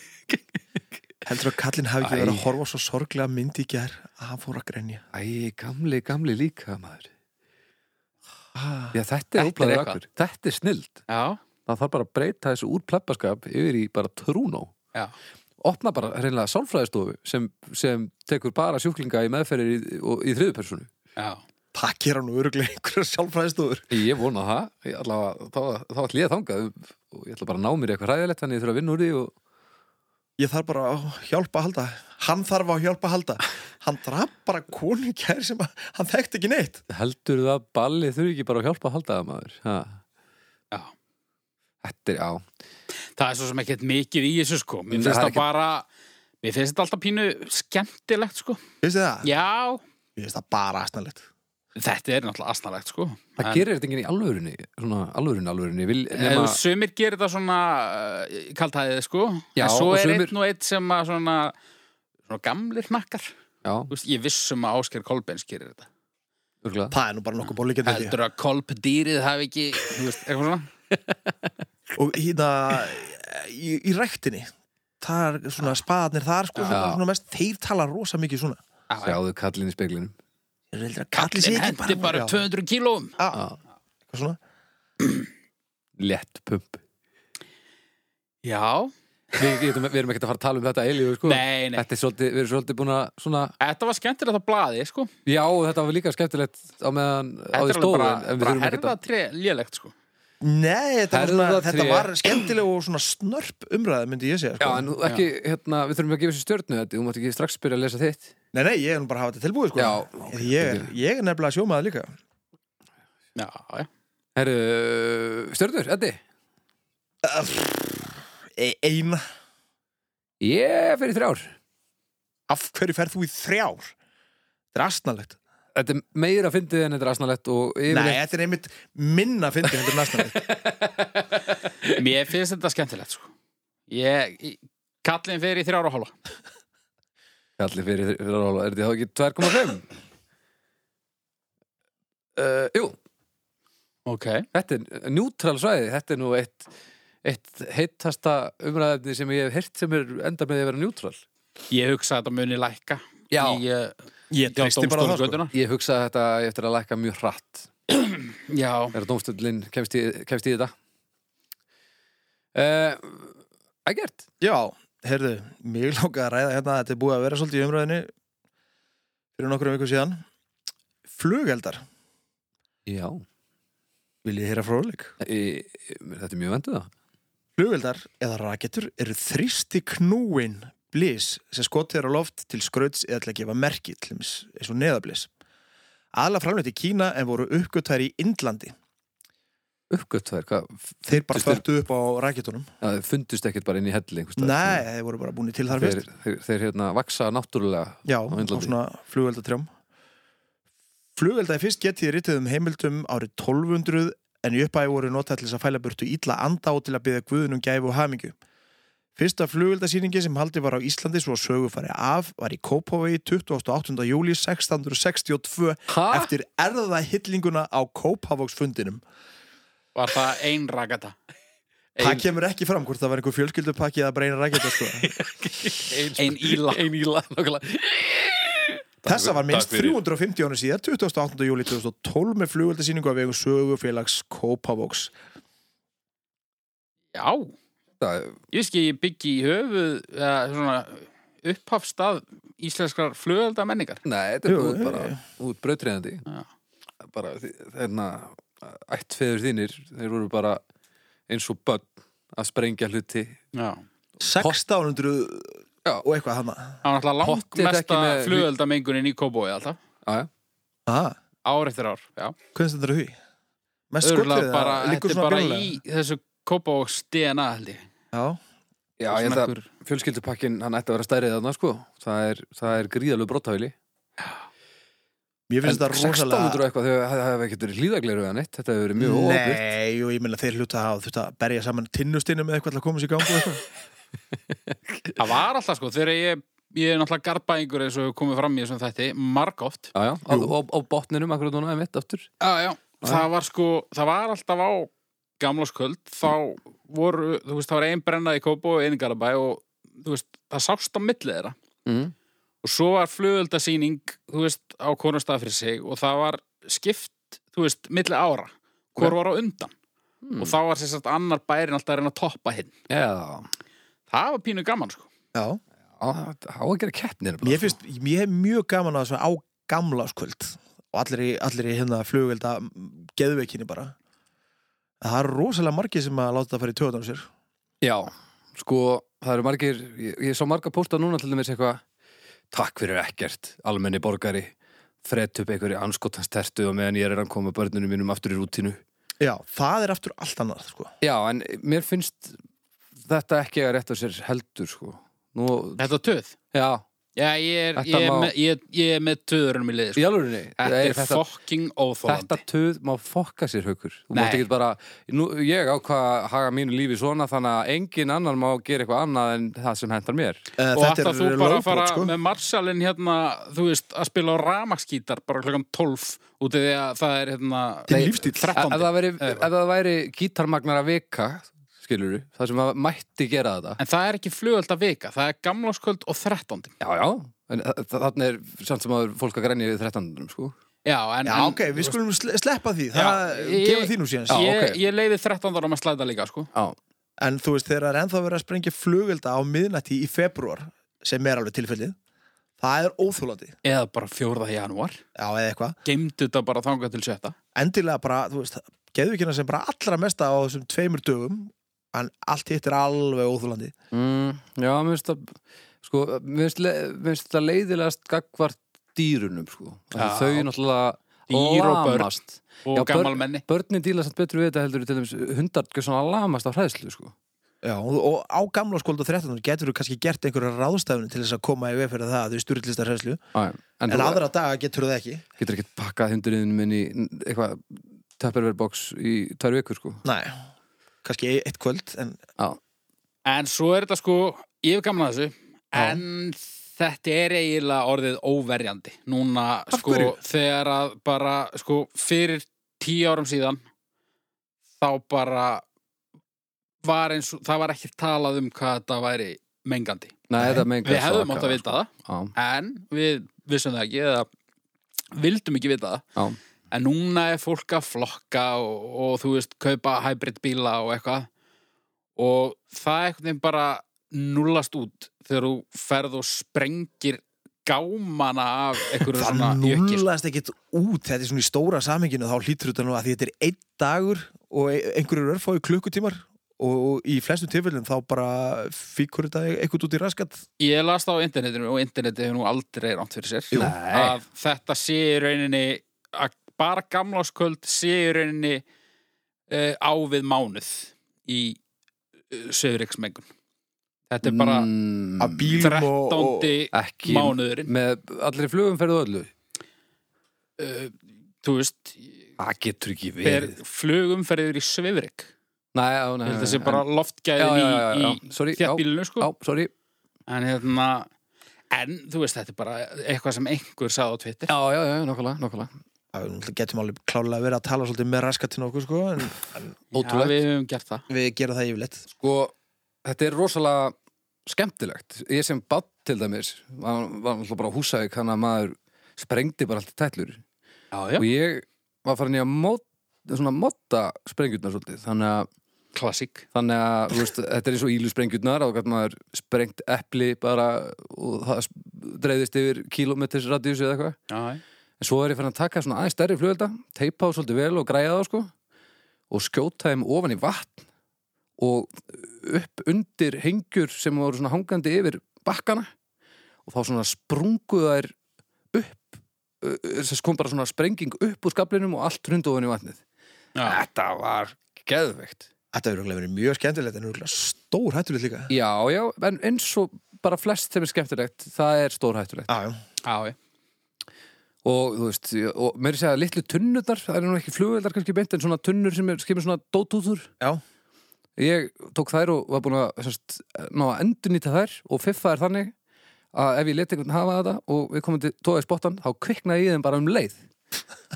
[SPEAKER 3] Heldur að kallin hafi ekki
[SPEAKER 1] Æ.
[SPEAKER 3] verið að horfa á svo sorglega myndi í ger að hann fór að grenja
[SPEAKER 1] Æ, gamli, gamli líka maður
[SPEAKER 3] ah.
[SPEAKER 1] já, þetta
[SPEAKER 2] Þetta er
[SPEAKER 1] er óblæður
[SPEAKER 2] eitthvað.
[SPEAKER 1] akkur þetta er snild,
[SPEAKER 2] Já,
[SPEAKER 1] það þarf bara að breyta þessu úr plebbaskap yfir í bara trúnó
[SPEAKER 2] já,
[SPEAKER 1] opna bara reynilega sálfræðistofu sem, sem tekur bara sjúklinga í meðferðir í, og- í þriðu personu
[SPEAKER 2] já.
[SPEAKER 3] Það gera nú öruglega einhverja sjálfræðistúður
[SPEAKER 1] Ég vona það, ég allavega, þá, þá ætla ég að þangað og ég ætla bara að ná mér í eitthvað ræðilegt þannig ég þurfa að vinna úr því og,
[SPEAKER 3] ég þarf bara á hjálpa að halda hann þarf á hjálpa að halda hann draf bara konu í gær sem að, hann þekkt ekki neitt
[SPEAKER 1] heldur það að ballið þurfi ekki bara að hjálpa að halda það maður ha.
[SPEAKER 2] Já.
[SPEAKER 1] Þetta er, já,
[SPEAKER 2] það er svo sem ekkert mikið í þessu sko mér
[SPEAKER 1] Nei,
[SPEAKER 2] finnst
[SPEAKER 1] það er
[SPEAKER 2] það
[SPEAKER 1] ekki-
[SPEAKER 2] bara mér finnst þetta alltaf pínu skemmtilegt sko
[SPEAKER 3] finnst þið það?
[SPEAKER 2] já,
[SPEAKER 3] ég finnst það bara aðsnalegt
[SPEAKER 2] þetta er náttúrulega asnalegt sko
[SPEAKER 1] það
[SPEAKER 2] En-
[SPEAKER 1] gerir þetta enginn í alvörunni svona alvörunni, alvörunni vil, nema,
[SPEAKER 2] nema... Sumir gerir það svona uh, kaltæðið sko
[SPEAKER 1] Já,
[SPEAKER 2] en svo
[SPEAKER 1] og
[SPEAKER 2] er
[SPEAKER 1] sumir-
[SPEAKER 2] einn og einn sem að svona, svona gamlir nakkar
[SPEAKER 1] já,
[SPEAKER 2] Þú veist, ég vissum að Ásker Kolbens gerir þetta
[SPEAKER 1] örgulega
[SPEAKER 3] það er nú bara nokkuð bóli getur ekki
[SPEAKER 2] heldur að Kolb dýrið hafi ekki þú veist, eitthvað svona
[SPEAKER 3] og hérna í, í ræktinni þar, svona spaðarnir þar sko, svona,
[SPEAKER 1] Já.
[SPEAKER 3] svona mest, þeir tala rosa mikið svona
[SPEAKER 2] Já, já.
[SPEAKER 1] sjáðu kallin í speglinum
[SPEAKER 3] Þeir eru heldur að kalli sig
[SPEAKER 2] Kallinn
[SPEAKER 3] ekki
[SPEAKER 2] hendi bara
[SPEAKER 3] Já.
[SPEAKER 2] 200 kílóum
[SPEAKER 3] Já,
[SPEAKER 1] Já.
[SPEAKER 3] eitthvað svona.
[SPEAKER 1] létt pump
[SPEAKER 2] Já,
[SPEAKER 1] við, við, við erum ekkert að fara að tala um þetta eilíu sko.
[SPEAKER 2] nei, nei
[SPEAKER 1] þetta er svolítið, við erum svolítið búin að svona,
[SPEAKER 2] Þetta var skemmtilegt að blaði, sko
[SPEAKER 1] já, þetta var líka skemmtilegt á meðan á
[SPEAKER 2] Þetta
[SPEAKER 1] því
[SPEAKER 2] er alveg
[SPEAKER 1] stóðu
[SPEAKER 2] bara,
[SPEAKER 1] en, en við
[SPEAKER 2] bara
[SPEAKER 1] þurfum ekkert
[SPEAKER 2] herða
[SPEAKER 1] að
[SPEAKER 2] lélegt, sko
[SPEAKER 3] Nei, þetta, var svona,
[SPEAKER 1] Herðatré.
[SPEAKER 3] þetta var skemmtileg og svona snörp umræða myndi ég segja
[SPEAKER 1] já,
[SPEAKER 3] sko.
[SPEAKER 1] en þú- ekki, hérna, við þurfum að gefa sér stjörnu þetta, þú mátt ekki strax byrja að lesa þitt
[SPEAKER 3] Nei, nei, ég er nú bara að hafa þetta tilbúið sko.
[SPEAKER 1] Já,
[SPEAKER 3] Ég- ég, er, ég er nefnilega sjómaður líka
[SPEAKER 2] Já, já
[SPEAKER 1] herru, stjörnur, Eddi
[SPEAKER 3] e Eina,
[SPEAKER 1] ég fer í þrjár
[SPEAKER 3] af hverju ferð þú í þrjár? Þetta er astnalegt
[SPEAKER 1] þetta er meira fyndið en þetta er asnalett og
[SPEAKER 3] Nei,
[SPEAKER 1] yfirleitt
[SPEAKER 3] þetta er einmitt minna fyndið Þetta er næstnalegt
[SPEAKER 2] Mér finnst þetta skemmtilegt, sko Ég, ég- kallinn fer í þrjára og hálfa
[SPEAKER 1] allir fyrir fyrir að rála, er þetta þá ekki 2,5? Uh, jú,
[SPEAKER 2] Ok
[SPEAKER 1] þetta er njútral svæði þetta er nú eitt, eitt heittasta umræðefni sem ég hef heyrt sem er endar með því að vera njútral
[SPEAKER 2] Ég hugsa að þetta muni lækka
[SPEAKER 1] Já.
[SPEAKER 2] í, uh,
[SPEAKER 3] Ég treysti bara á það sko.
[SPEAKER 1] um
[SPEAKER 2] dómstólagötuna
[SPEAKER 1] ég hugsa að þetta ég eftir að lækka mjög hratt
[SPEAKER 2] Já,
[SPEAKER 1] er að dómstöldin kemst, í- kemst í þetta uh, Ægert
[SPEAKER 3] Já, heyrðu, mig langaði að ræða hérna Þetta er búið að vera svolítið í umræðinni Fyrir nokkrum viku síðan Flugeldar,
[SPEAKER 1] Já,
[SPEAKER 3] vil ég heyra fróðleik
[SPEAKER 1] e, e, þetta er mjög venduð það
[SPEAKER 3] Flugveldar eða rakettur eru þrýsti knúin blís sem skotið er á loft til skrauts eða til að gefa merki, til dæmis eins og neðablís. Aðla framleitt í Kína en voru uppgötværi í Indlandi.
[SPEAKER 1] Uppgötvar, hvað,
[SPEAKER 3] Þeir bara
[SPEAKER 1] Fyrst er-
[SPEAKER 3] föttu upp á rakettunum.
[SPEAKER 1] að þeir fundust ekkert bara inn í helli einhvers staðar?
[SPEAKER 3] Nei, þeir voru bara búin til þar
[SPEAKER 1] þeir,
[SPEAKER 3] fyrst.
[SPEAKER 1] þeir, þeir hérna vaksa náttúrulega
[SPEAKER 3] Já, á
[SPEAKER 1] á Indlandi.
[SPEAKER 3] svona flugveldatrjám. Flugveldaði fyrst getið ritið um heimildum árið 1200 en í uppæði voru notað til þess að fæla burtu ítla anda og til að byggja guðunum gæfu og hamingu. Fyrsta flugveldasýningi sem haldið var á Íslandi svo sögu farið af var í Kópavogi 28. júli 1662
[SPEAKER 2] Ah!
[SPEAKER 1] Ha?
[SPEAKER 3] eftir erðahillinguna á Kópavogsfundinum.
[SPEAKER 2] var það ein rakata
[SPEAKER 3] Það kemur ekki fram hvort það var einhver fjölskyldupakki eða bara eina sko. rækjölda
[SPEAKER 2] Ein íla
[SPEAKER 1] Ein íla, nákvæmlega
[SPEAKER 3] Þessa var minnst
[SPEAKER 1] Takk fyrir.
[SPEAKER 3] 350 ára síðar 28. júli 2012 með flugöldasýningu af vegum sögufélags Kópavogs
[SPEAKER 2] Já,
[SPEAKER 1] Það-
[SPEAKER 2] ég veist ekki, ég byggi í höfuð eða, svona, upphafstað íslenskar flugelda menningar
[SPEAKER 1] Nei, þetta er
[SPEAKER 3] Jú,
[SPEAKER 1] út
[SPEAKER 3] jú,
[SPEAKER 1] bara út brautriðandi
[SPEAKER 2] Já.
[SPEAKER 1] bara þeirna ættfeður þínir, þeir voru bara eins og börn að sprengja hluti
[SPEAKER 2] Já
[SPEAKER 3] 1600
[SPEAKER 1] Já.
[SPEAKER 3] og eitthvað hana
[SPEAKER 2] Það var náttúrulega
[SPEAKER 1] Pottþétt
[SPEAKER 2] langmesta
[SPEAKER 1] ekki með-
[SPEAKER 2] flugeldamengunin í Kóbói alltaf
[SPEAKER 1] Aja.
[SPEAKER 3] Aha,
[SPEAKER 2] Ár eftir ár, já
[SPEAKER 3] hvernig stendur því? Mest skollið
[SPEAKER 2] Örgulega
[SPEAKER 3] eða
[SPEAKER 2] bara,
[SPEAKER 3] liggur
[SPEAKER 2] þetta er
[SPEAKER 3] svona
[SPEAKER 2] bara
[SPEAKER 3] bjónulega?
[SPEAKER 2] í þessu Kóbóks DNA held ég
[SPEAKER 3] Já,
[SPEAKER 1] Já,
[SPEAKER 2] Svona
[SPEAKER 1] ég held að
[SPEAKER 2] einhver-
[SPEAKER 1] fjölskyldupakkin hann ætti að vera stærrið þarna, sko það er, það er gríðalög brottafili
[SPEAKER 3] mér
[SPEAKER 1] En
[SPEAKER 3] finnst þetta
[SPEAKER 1] 1600
[SPEAKER 3] rosalega
[SPEAKER 1] og eitthvað, þau hefði ekkert verið hlýðagleiru eða neitt, þetta hefði verið mjög óöfnitt
[SPEAKER 3] Nei, og ég minna þeir hluta að hafa þurft að berja saman tinnustinu með eitthvað til að koma sér í gang og eitthvað.
[SPEAKER 2] Það var alltaf sko, þegar ég Ég er náttúrulega garbaðingur eins og hefur komið fram í þessum þætti Margóft
[SPEAKER 1] Já, já, á, á, á botninum akkurat núna, emitt, aftur
[SPEAKER 2] Já, já, það var sko, það var alltaf á gamláskvöld, þá voru, þú veist, það var ein brennað í Kópó og ein í Garabæ og, þú veist, það sást á milli þeirra.
[SPEAKER 1] mm.
[SPEAKER 2] Og svo var flugöldasýning, þú veist, á konustað fyrir sig og það var skipt, þú veist, milli ára, hvor
[SPEAKER 1] Ok. Hmm.
[SPEAKER 2] var á undan. Og þá var sér sagt annar bærin alltaf að reyna að toppa hinn.
[SPEAKER 1] Já,
[SPEAKER 2] Það var pínu gaman, sko.
[SPEAKER 3] Já,
[SPEAKER 1] á, á að gera keppnir
[SPEAKER 3] mér finnst, mér hef mjög gaman að þessu á gamla skvöld og allir í, allir í hérna flugvelda geðveikinni bara Það er rosalega margir sem að láta það fara í töðan á sér
[SPEAKER 1] Já, sko, það eru margir ég, ég sá marga pósta núna til dæmis eitthvað takk fyrir ekkert, almenni borgari frett upp einhverju anskotanstertu og meðan ég er að koma börnunum mínum aftur í rútínu
[SPEAKER 3] Já, það er aftur allt annað, sko
[SPEAKER 1] Já, en mér finnst þetta ekki að rétta sér heldur, sko Nú,
[SPEAKER 2] Þetta er töð
[SPEAKER 1] já,
[SPEAKER 2] Já, ég er,
[SPEAKER 1] Þetta
[SPEAKER 2] ég er,
[SPEAKER 1] má-
[SPEAKER 2] með, ég, ég er með töðurum í liði
[SPEAKER 1] í
[SPEAKER 2] sko.
[SPEAKER 1] alvörinni
[SPEAKER 2] Þetta er fucking
[SPEAKER 1] þetta
[SPEAKER 2] óþólandi
[SPEAKER 1] töð má fokka sér haukur Þú
[SPEAKER 2] Nei.
[SPEAKER 1] mátt ekki bara, nú, ég ákvað að haga mínu lífi svona þannig að engin annar má gera eitthvað annað en það sem hentar mér
[SPEAKER 3] Eh,
[SPEAKER 2] Og
[SPEAKER 3] Þetta
[SPEAKER 2] ætla
[SPEAKER 3] er
[SPEAKER 2] þú bara að
[SPEAKER 3] lögbrot,
[SPEAKER 2] fara
[SPEAKER 3] sko
[SPEAKER 2] með Marsalinn hérna, þú veist, að spila á ramaskítar bara klokkan 12 út af því að það er hérna
[SPEAKER 3] Þinn lífstíll.
[SPEAKER 1] Ef
[SPEAKER 2] 13.
[SPEAKER 1] ef það væri,
[SPEAKER 2] Eða-
[SPEAKER 1] ef það væri gítarmagnara vika skilur við, það sem að mætti gera þetta
[SPEAKER 2] En það er ekki flugöld að vika, það er gamláskvöld og 13.
[SPEAKER 1] Já, já, en þa- þa- þarna er samt sem að fólk að grænja við 13. sko
[SPEAKER 2] Já, en,
[SPEAKER 3] Já,
[SPEAKER 2] en
[SPEAKER 3] ok, við skulum sle- sleppa því Það
[SPEAKER 2] Já, ég-
[SPEAKER 3] gefur þínu síðan
[SPEAKER 1] Já,
[SPEAKER 2] ég,
[SPEAKER 1] ok.
[SPEAKER 2] ég leiði 13 ára með slæta líka, sko.
[SPEAKER 1] Já,
[SPEAKER 3] En þú veist, þegar það er ennþá verið að sprengja flugelda á miðnætti í februar sem er alveg tilfellið það er óþúlandi,
[SPEAKER 2] Eða bara 4. janúar.
[SPEAKER 3] já, eða eitthvað
[SPEAKER 2] Geimdu þetta bara þangað til sjötta.
[SPEAKER 3] endilega bara, þú veist, geðvíkina sem bara allra mesta á þessum tveimur dögum en allt hitt er alveg óþúlandi
[SPEAKER 1] mm, já, mér finnst það sko, mér finnst le- mér finnst það leiðilegast gagvart dýrunum, sko Af því
[SPEAKER 2] Já.
[SPEAKER 1] Þau náttúrulega
[SPEAKER 2] Dýr og börn.
[SPEAKER 1] lamast.
[SPEAKER 2] Og
[SPEAKER 1] Já, börn-
[SPEAKER 2] gammal menni.
[SPEAKER 1] Börnin dýla samt betur við þetta heldur en til dæmis hundar gjör svona lamast á hræðslu, sko
[SPEAKER 3] Já, og og á gamla skólda 13 getur þú kannski gert einhverja ráðstafinu til þess að koma í veg fyrir það að þau styrlista hræslu
[SPEAKER 1] Æ, En,
[SPEAKER 3] en aðra daga getur þú það ekki
[SPEAKER 1] getur ekkert pakkað hundurinn minn í eitthvað tepperverbox í tvær vikur, sko
[SPEAKER 3] Nei, kannski e- eitt kvöld en
[SPEAKER 1] Já,
[SPEAKER 2] En svo er þetta sko, ég hef gaman að þessu, en þetta er eiginlega orðið óverjandi. Núna,
[SPEAKER 3] Af
[SPEAKER 2] sko,
[SPEAKER 3] hverju?
[SPEAKER 2] þegar að bara, sko, fyrir tíu árum síðan, þá bara var eins og, það var ekki talað um hvað þetta væri mengandi.
[SPEAKER 1] nei,
[SPEAKER 3] Nei,
[SPEAKER 1] þetta sko. mengar
[SPEAKER 2] Við hefðum átt að vita
[SPEAKER 3] sko.
[SPEAKER 2] það,
[SPEAKER 1] það
[SPEAKER 2] en við vissum það ekki, eða vildum ekki vita það.
[SPEAKER 1] Já,
[SPEAKER 2] En núna er fólk að flokka og, og þú veist, kaupa hybrid bíla og eitthvað. Og það einhvern veginn bara nullast út þegar þú ferð og sprengir gámana af einhverju
[SPEAKER 3] það
[SPEAKER 2] svona jökki. sko.
[SPEAKER 3] núlast ekkit út þetta er svona í stóra saminginu þá hlýtur þetta nú að því þetta er einn dagur og e- einhverjur örfái klukkutímar og, og í flestum tilfellum þá bara fíkur þetta eitthvað út í raskat
[SPEAKER 2] Ég las það á internetinu og internetið hefur nú aldrei rámt fyrir sér.
[SPEAKER 1] Jú. Nei.
[SPEAKER 2] Að þetta sé í rauninni, að bara gamláskvöld sé í rauninni uh, á við mánuð í uh, söðriksmengun. Þetta er bara
[SPEAKER 1] mm,
[SPEAKER 3] af bílum og, og
[SPEAKER 2] 13.
[SPEAKER 1] ekki
[SPEAKER 2] mánuðurinn.
[SPEAKER 1] með allri flugum ferðu öllu
[SPEAKER 2] uh, þú veist,
[SPEAKER 1] það getur ekki
[SPEAKER 2] per
[SPEAKER 1] verið
[SPEAKER 2] flugumferðir í Svifrik.
[SPEAKER 1] nei, á, nei,
[SPEAKER 2] Ég held að það sé
[SPEAKER 1] en-
[SPEAKER 2] bara
[SPEAKER 1] Já,
[SPEAKER 2] loftgæðin
[SPEAKER 1] já, já, já,
[SPEAKER 2] í,
[SPEAKER 1] sorry,
[SPEAKER 2] í þjættbílinu,
[SPEAKER 1] já,
[SPEAKER 2] sko.
[SPEAKER 1] sorry
[SPEAKER 2] En hérna, en þú veist, þetta er bara eitthvað sem einhver sagði á Twitter.
[SPEAKER 1] já, já, já, nokkulega, nokkulega
[SPEAKER 3] Það náttúrulega getum alveg klálega verið að tala svolítið með raskatinn okkur sko, en, en
[SPEAKER 1] ótrúlegt.
[SPEAKER 2] við höfum gert það.
[SPEAKER 3] við gera það yfirleitt
[SPEAKER 1] sko, þetta er rosalega skemmtilegt ég sem bát til dæmis var, var alltaf bara á húsæk hann að maður sprengdi bara allt í tætlur
[SPEAKER 2] Já,
[SPEAKER 1] og ég var farin í að mót, svona móta sprengjurnar svolítið þannig að
[SPEAKER 2] Klassík.
[SPEAKER 1] Þannig að, þú veist, þetta er eins og ílu sprengjurnar og hvernig maður sprengt epli bara og það sp- dreifðist yfir kilometris radíus eða eitthvað.
[SPEAKER 2] Já, já.
[SPEAKER 1] En svo er ég fann að taka svona aðeins stærri flugölda, teipa þá svolítið vel og græja þá sko og skjóta þeim ofan í vatn og upp undir hengjur sem voru svona hangandi yfir bakkana og þá svona sprungu þær upp, ö, ö, þess kom bara svona sprenging upp úr skablinum og allt hrundi ofan í vatnið.
[SPEAKER 2] Já.
[SPEAKER 1] Þetta var geðveikt.
[SPEAKER 3] Þetta er örugglega verið mjög skemmtilegt en örugglega stór hættulegt líka
[SPEAKER 1] Já, já, en eins og bara flest sem er skemmtilegt, það er stórhættulegt
[SPEAKER 3] Já, já,
[SPEAKER 2] Já, já.
[SPEAKER 1] og þú veist, ég- og mér segja litlu tunnunar, það eru nú ekki flugveldar kannski beint en svona tunnur sem er, skemur svona dótúður
[SPEAKER 3] já.
[SPEAKER 1] ég tók þær og var búin að sérst, ná að endurnýta þær og fiffa þær þannig að ef ég leti einhvern hafa þetta og við komum til tóða í spottan þá kviknaði ég þeim bara um leið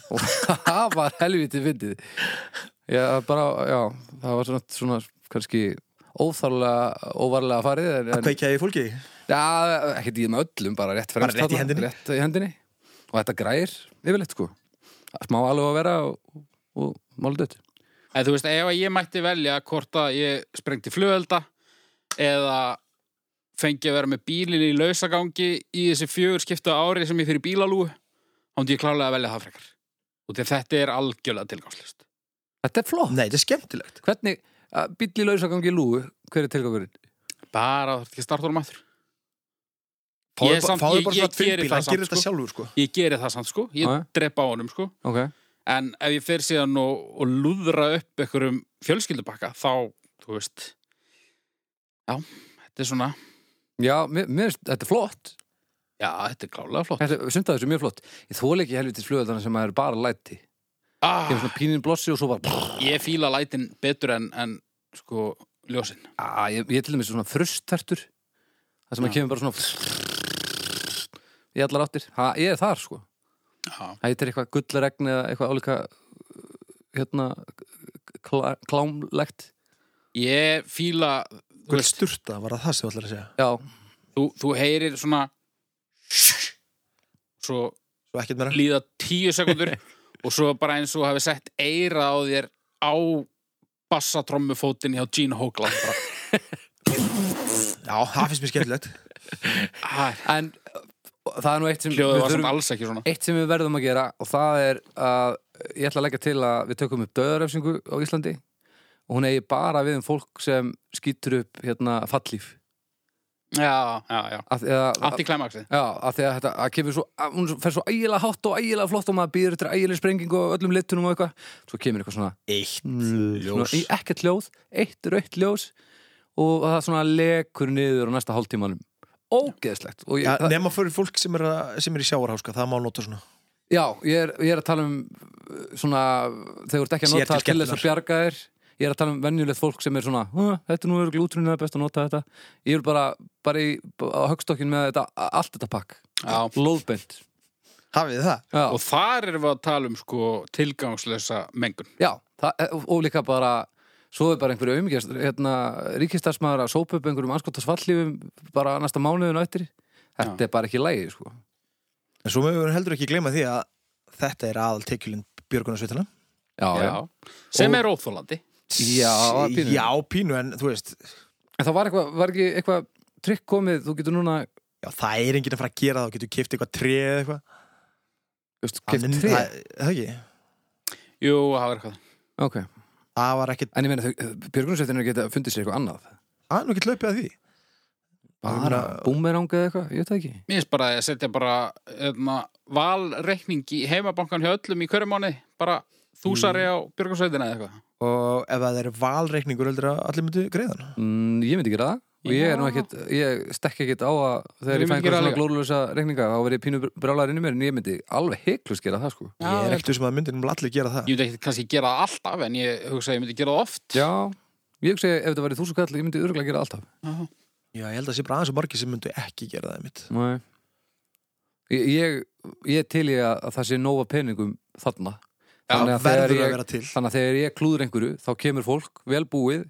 [SPEAKER 1] og það var helviti fyndið já, bara, já það var svona, svona kannski óþarlega, óvarlega farið en, en,
[SPEAKER 3] Að kveikja í fólki
[SPEAKER 1] Já, ekkert í þeim öllum, bara rétt
[SPEAKER 3] Bara
[SPEAKER 1] fremst
[SPEAKER 3] rétt í
[SPEAKER 1] þarna,
[SPEAKER 3] hendinni.
[SPEAKER 1] rétt í hendinni. Og þetta græðir yfirleitt sko Smá alveg að vera og, og máldöð
[SPEAKER 2] En þú veist, ef að ég mætti velja hvort að ég sprengti flugölda eða fengi að vera með bílinn í lausagangi í þessi fjögur skiptu á ári sem ég fyrir bílalúu, þá hundi ég klálega að velja það frekar. Og þetta er algjörlega tilgangslust.
[SPEAKER 1] Þetta er flott
[SPEAKER 3] Nei, þetta er skemmtilegt
[SPEAKER 1] Hvernig, að bíll í lausagangi í lúu, hver er tilgangurinn?
[SPEAKER 2] bara þarf ekki að starta honum aftur
[SPEAKER 3] Fáðu
[SPEAKER 2] Ég er
[SPEAKER 3] ba-
[SPEAKER 2] samt-
[SPEAKER 3] fáðu
[SPEAKER 2] ég-
[SPEAKER 3] bara svona
[SPEAKER 2] ég geri
[SPEAKER 3] tvimpil,
[SPEAKER 2] það
[SPEAKER 3] hann
[SPEAKER 2] samt,
[SPEAKER 3] gerir þetta
[SPEAKER 2] sko.
[SPEAKER 3] sjálfur sko
[SPEAKER 2] ég geri það samt sko, ég
[SPEAKER 1] Já, já.
[SPEAKER 2] drepa á honum sko
[SPEAKER 1] ok
[SPEAKER 2] en ef ég fer síðan og, og lúðra upp einhverjum fjölskyldubakka þá, þú veist já, þetta er svona
[SPEAKER 1] Já, mér, mér, finnst- þetta er flott
[SPEAKER 2] já, þetta er klálega flott
[SPEAKER 1] Þetta sumt af þessu er mjög flott Ég þóla ekki helvitis flugöldana sem er bara læti Kemur
[SPEAKER 2] ah,
[SPEAKER 1] svona pínin blossi og svo bara
[SPEAKER 2] ég fíla lætin betur en, en sko, ljósin
[SPEAKER 1] ah, ég, ég er til dæmis svona frusttertur Það sem að
[SPEAKER 2] Já.
[SPEAKER 1] kemur bara svona Í allar áttir ha, Ég er þar sko
[SPEAKER 2] já,
[SPEAKER 1] Það heitir eitthvað gullaregn eða eitthvað álíka Hérna klá, Klámlegt
[SPEAKER 2] ég fíla þú
[SPEAKER 3] Gull
[SPEAKER 2] veist,
[SPEAKER 3] sturta var það það sem ég ætlar að segja
[SPEAKER 1] Já,
[SPEAKER 2] þú, þú heyrir svona svo
[SPEAKER 3] Svo ekkert meira
[SPEAKER 2] líða tíu sekundur og svo bara eins og hafi sett eira á þér á bassatrommufótinn hjá Gene Hoglan bara,
[SPEAKER 3] Já, það finnst mér skemmtilegt
[SPEAKER 2] ah,
[SPEAKER 1] en uh, það er nú eitt sem
[SPEAKER 2] hljóðið
[SPEAKER 1] við
[SPEAKER 2] var samt
[SPEAKER 1] þurfum-
[SPEAKER 2] alls ekki svona
[SPEAKER 1] Eitt sem við verðum að gera og það er að ég ætla að leggja til að við tökum upp döðarefsingu á Íslandi og hún eigi bara við um fólk sem skýtur upp hérna fallíf
[SPEAKER 2] já, já, já,
[SPEAKER 1] að, eða, að,
[SPEAKER 2] antiklæmaxi
[SPEAKER 1] já, að því að þetta að kemur svo, að, hún fer svo ægilega hátt og ægilega flott og maður býður eftir ægilega sprengingu og öllum litunum og eitthvað svo kemur eitthvað svona,
[SPEAKER 3] Eitt
[SPEAKER 1] svona í ekkert ljóð, eitt rautt ljós og það svona lekur niður á næsta hálftímanum ógeðslegt og ég,
[SPEAKER 3] ja,
[SPEAKER 1] það,
[SPEAKER 3] Nefna fyrir fólk sem er, að- sem er í sjávarháska Það má nota svona
[SPEAKER 1] Já, ég er, ég er að tala um uh, svona, þegar þú ert ekki að
[SPEAKER 3] Sér
[SPEAKER 1] nota
[SPEAKER 3] til
[SPEAKER 1] til þess að bjarga þér ég er að tala um venjulegt fólk sem er svona "Hú, þetta er nú örugglega útrunni, það er best að nota þetta ég er bara, bara í, á högstokkin með þetta, allt þetta pakk
[SPEAKER 2] Já.
[SPEAKER 1] lóðbent
[SPEAKER 3] Hafið þið það?
[SPEAKER 1] Já,
[SPEAKER 2] og þar erum við að tala um sko tilgangslösa mengun
[SPEAKER 1] já það, eh, og- og líka bara svo er bara einhverju aumingjast hérna, ríkistarsmaður að sópa upp einhverjum anskotasvallífum bara næsta mánuðin á eftir þetta
[SPEAKER 2] Já.
[SPEAKER 1] er bara ekki lægi sko.
[SPEAKER 3] En svo mögum við heldur ekki gleyma því að Þetta er aðal tekjulinn Björgunarsveitana
[SPEAKER 1] já, já.
[SPEAKER 2] sem
[SPEAKER 1] Og-
[SPEAKER 2] er óþólandi
[SPEAKER 1] Já, pínu.
[SPEAKER 3] Já, pínu, en þú veist
[SPEAKER 1] en það var, eitthvað, var ekki eitthvað trikk komið, þú getur núna
[SPEAKER 3] Já, það er enginn að fara að gera það og getur kipt eitthvað tré eða eitthvað Það
[SPEAKER 1] keft
[SPEAKER 3] mynd-
[SPEAKER 1] trikk
[SPEAKER 3] Það það ekki
[SPEAKER 2] jú, það er eitthvað
[SPEAKER 1] okay.
[SPEAKER 3] Það var ekkert,
[SPEAKER 1] En ég meina, björgunarsveitinir geta fundið sér eitthvað annað
[SPEAKER 3] það er nú ekkert löpið að því
[SPEAKER 1] Bara
[SPEAKER 3] meina-
[SPEAKER 1] búmerang eða eitthvað, ég veit það ekki
[SPEAKER 2] mér finnst bara að setja bara hefna, valreikning í heimabankan hjá öllum í hverju mánu bara þúsari á björgarsveitina eða eitthvað
[SPEAKER 3] Og ef það er valreikningur heldur að allir myndu greiðan
[SPEAKER 1] mm, Ég myndi gera það og ég er nú
[SPEAKER 2] Já.
[SPEAKER 1] ekkit, ég stekk ekkit á að þegar
[SPEAKER 2] Ég
[SPEAKER 1] ég
[SPEAKER 2] myndi
[SPEAKER 1] fæ
[SPEAKER 2] gera
[SPEAKER 1] einhverja svona
[SPEAKER 2] líka.
[SPEAKER 1] glóðlösa reikninga þá verið pínu brálar inn í mér en ég myndi alveg heiklust gera það sko
[SPEAKER 2] Já,
[SPEAKER 3] Ég
[SPEAKER 2] ég
[SPEAKER 3] er ekkert sem að myndin um allir gera það
[SPEAKER 2] Ég myndi ekki kannski gera það alltaf en ég hugsa að ég myndi gera það oft
[SPEAKER 1] Já, ég hugsi ef þetta verið þúsund kall ég myndi örgulega gera alltaf
[SPEAKER 3] Já, ég held að sé bara aðeins og margir sem myndu ekki gera það mitt
[SPEAKER 1] Nei. Ég, ég, ég til ég að það sé nóga peningum þarna
[SPEAKER 2] Já,
[SPEAKER 1] Þannig að þegar
[SPEAKER 3] Verður
[SPEAKER 1] ég-
[SPEAKER 3] að vera til
[SPEAKER 1] Þannig að þegar ég klúður einhverju, þá kemur fólk vel búið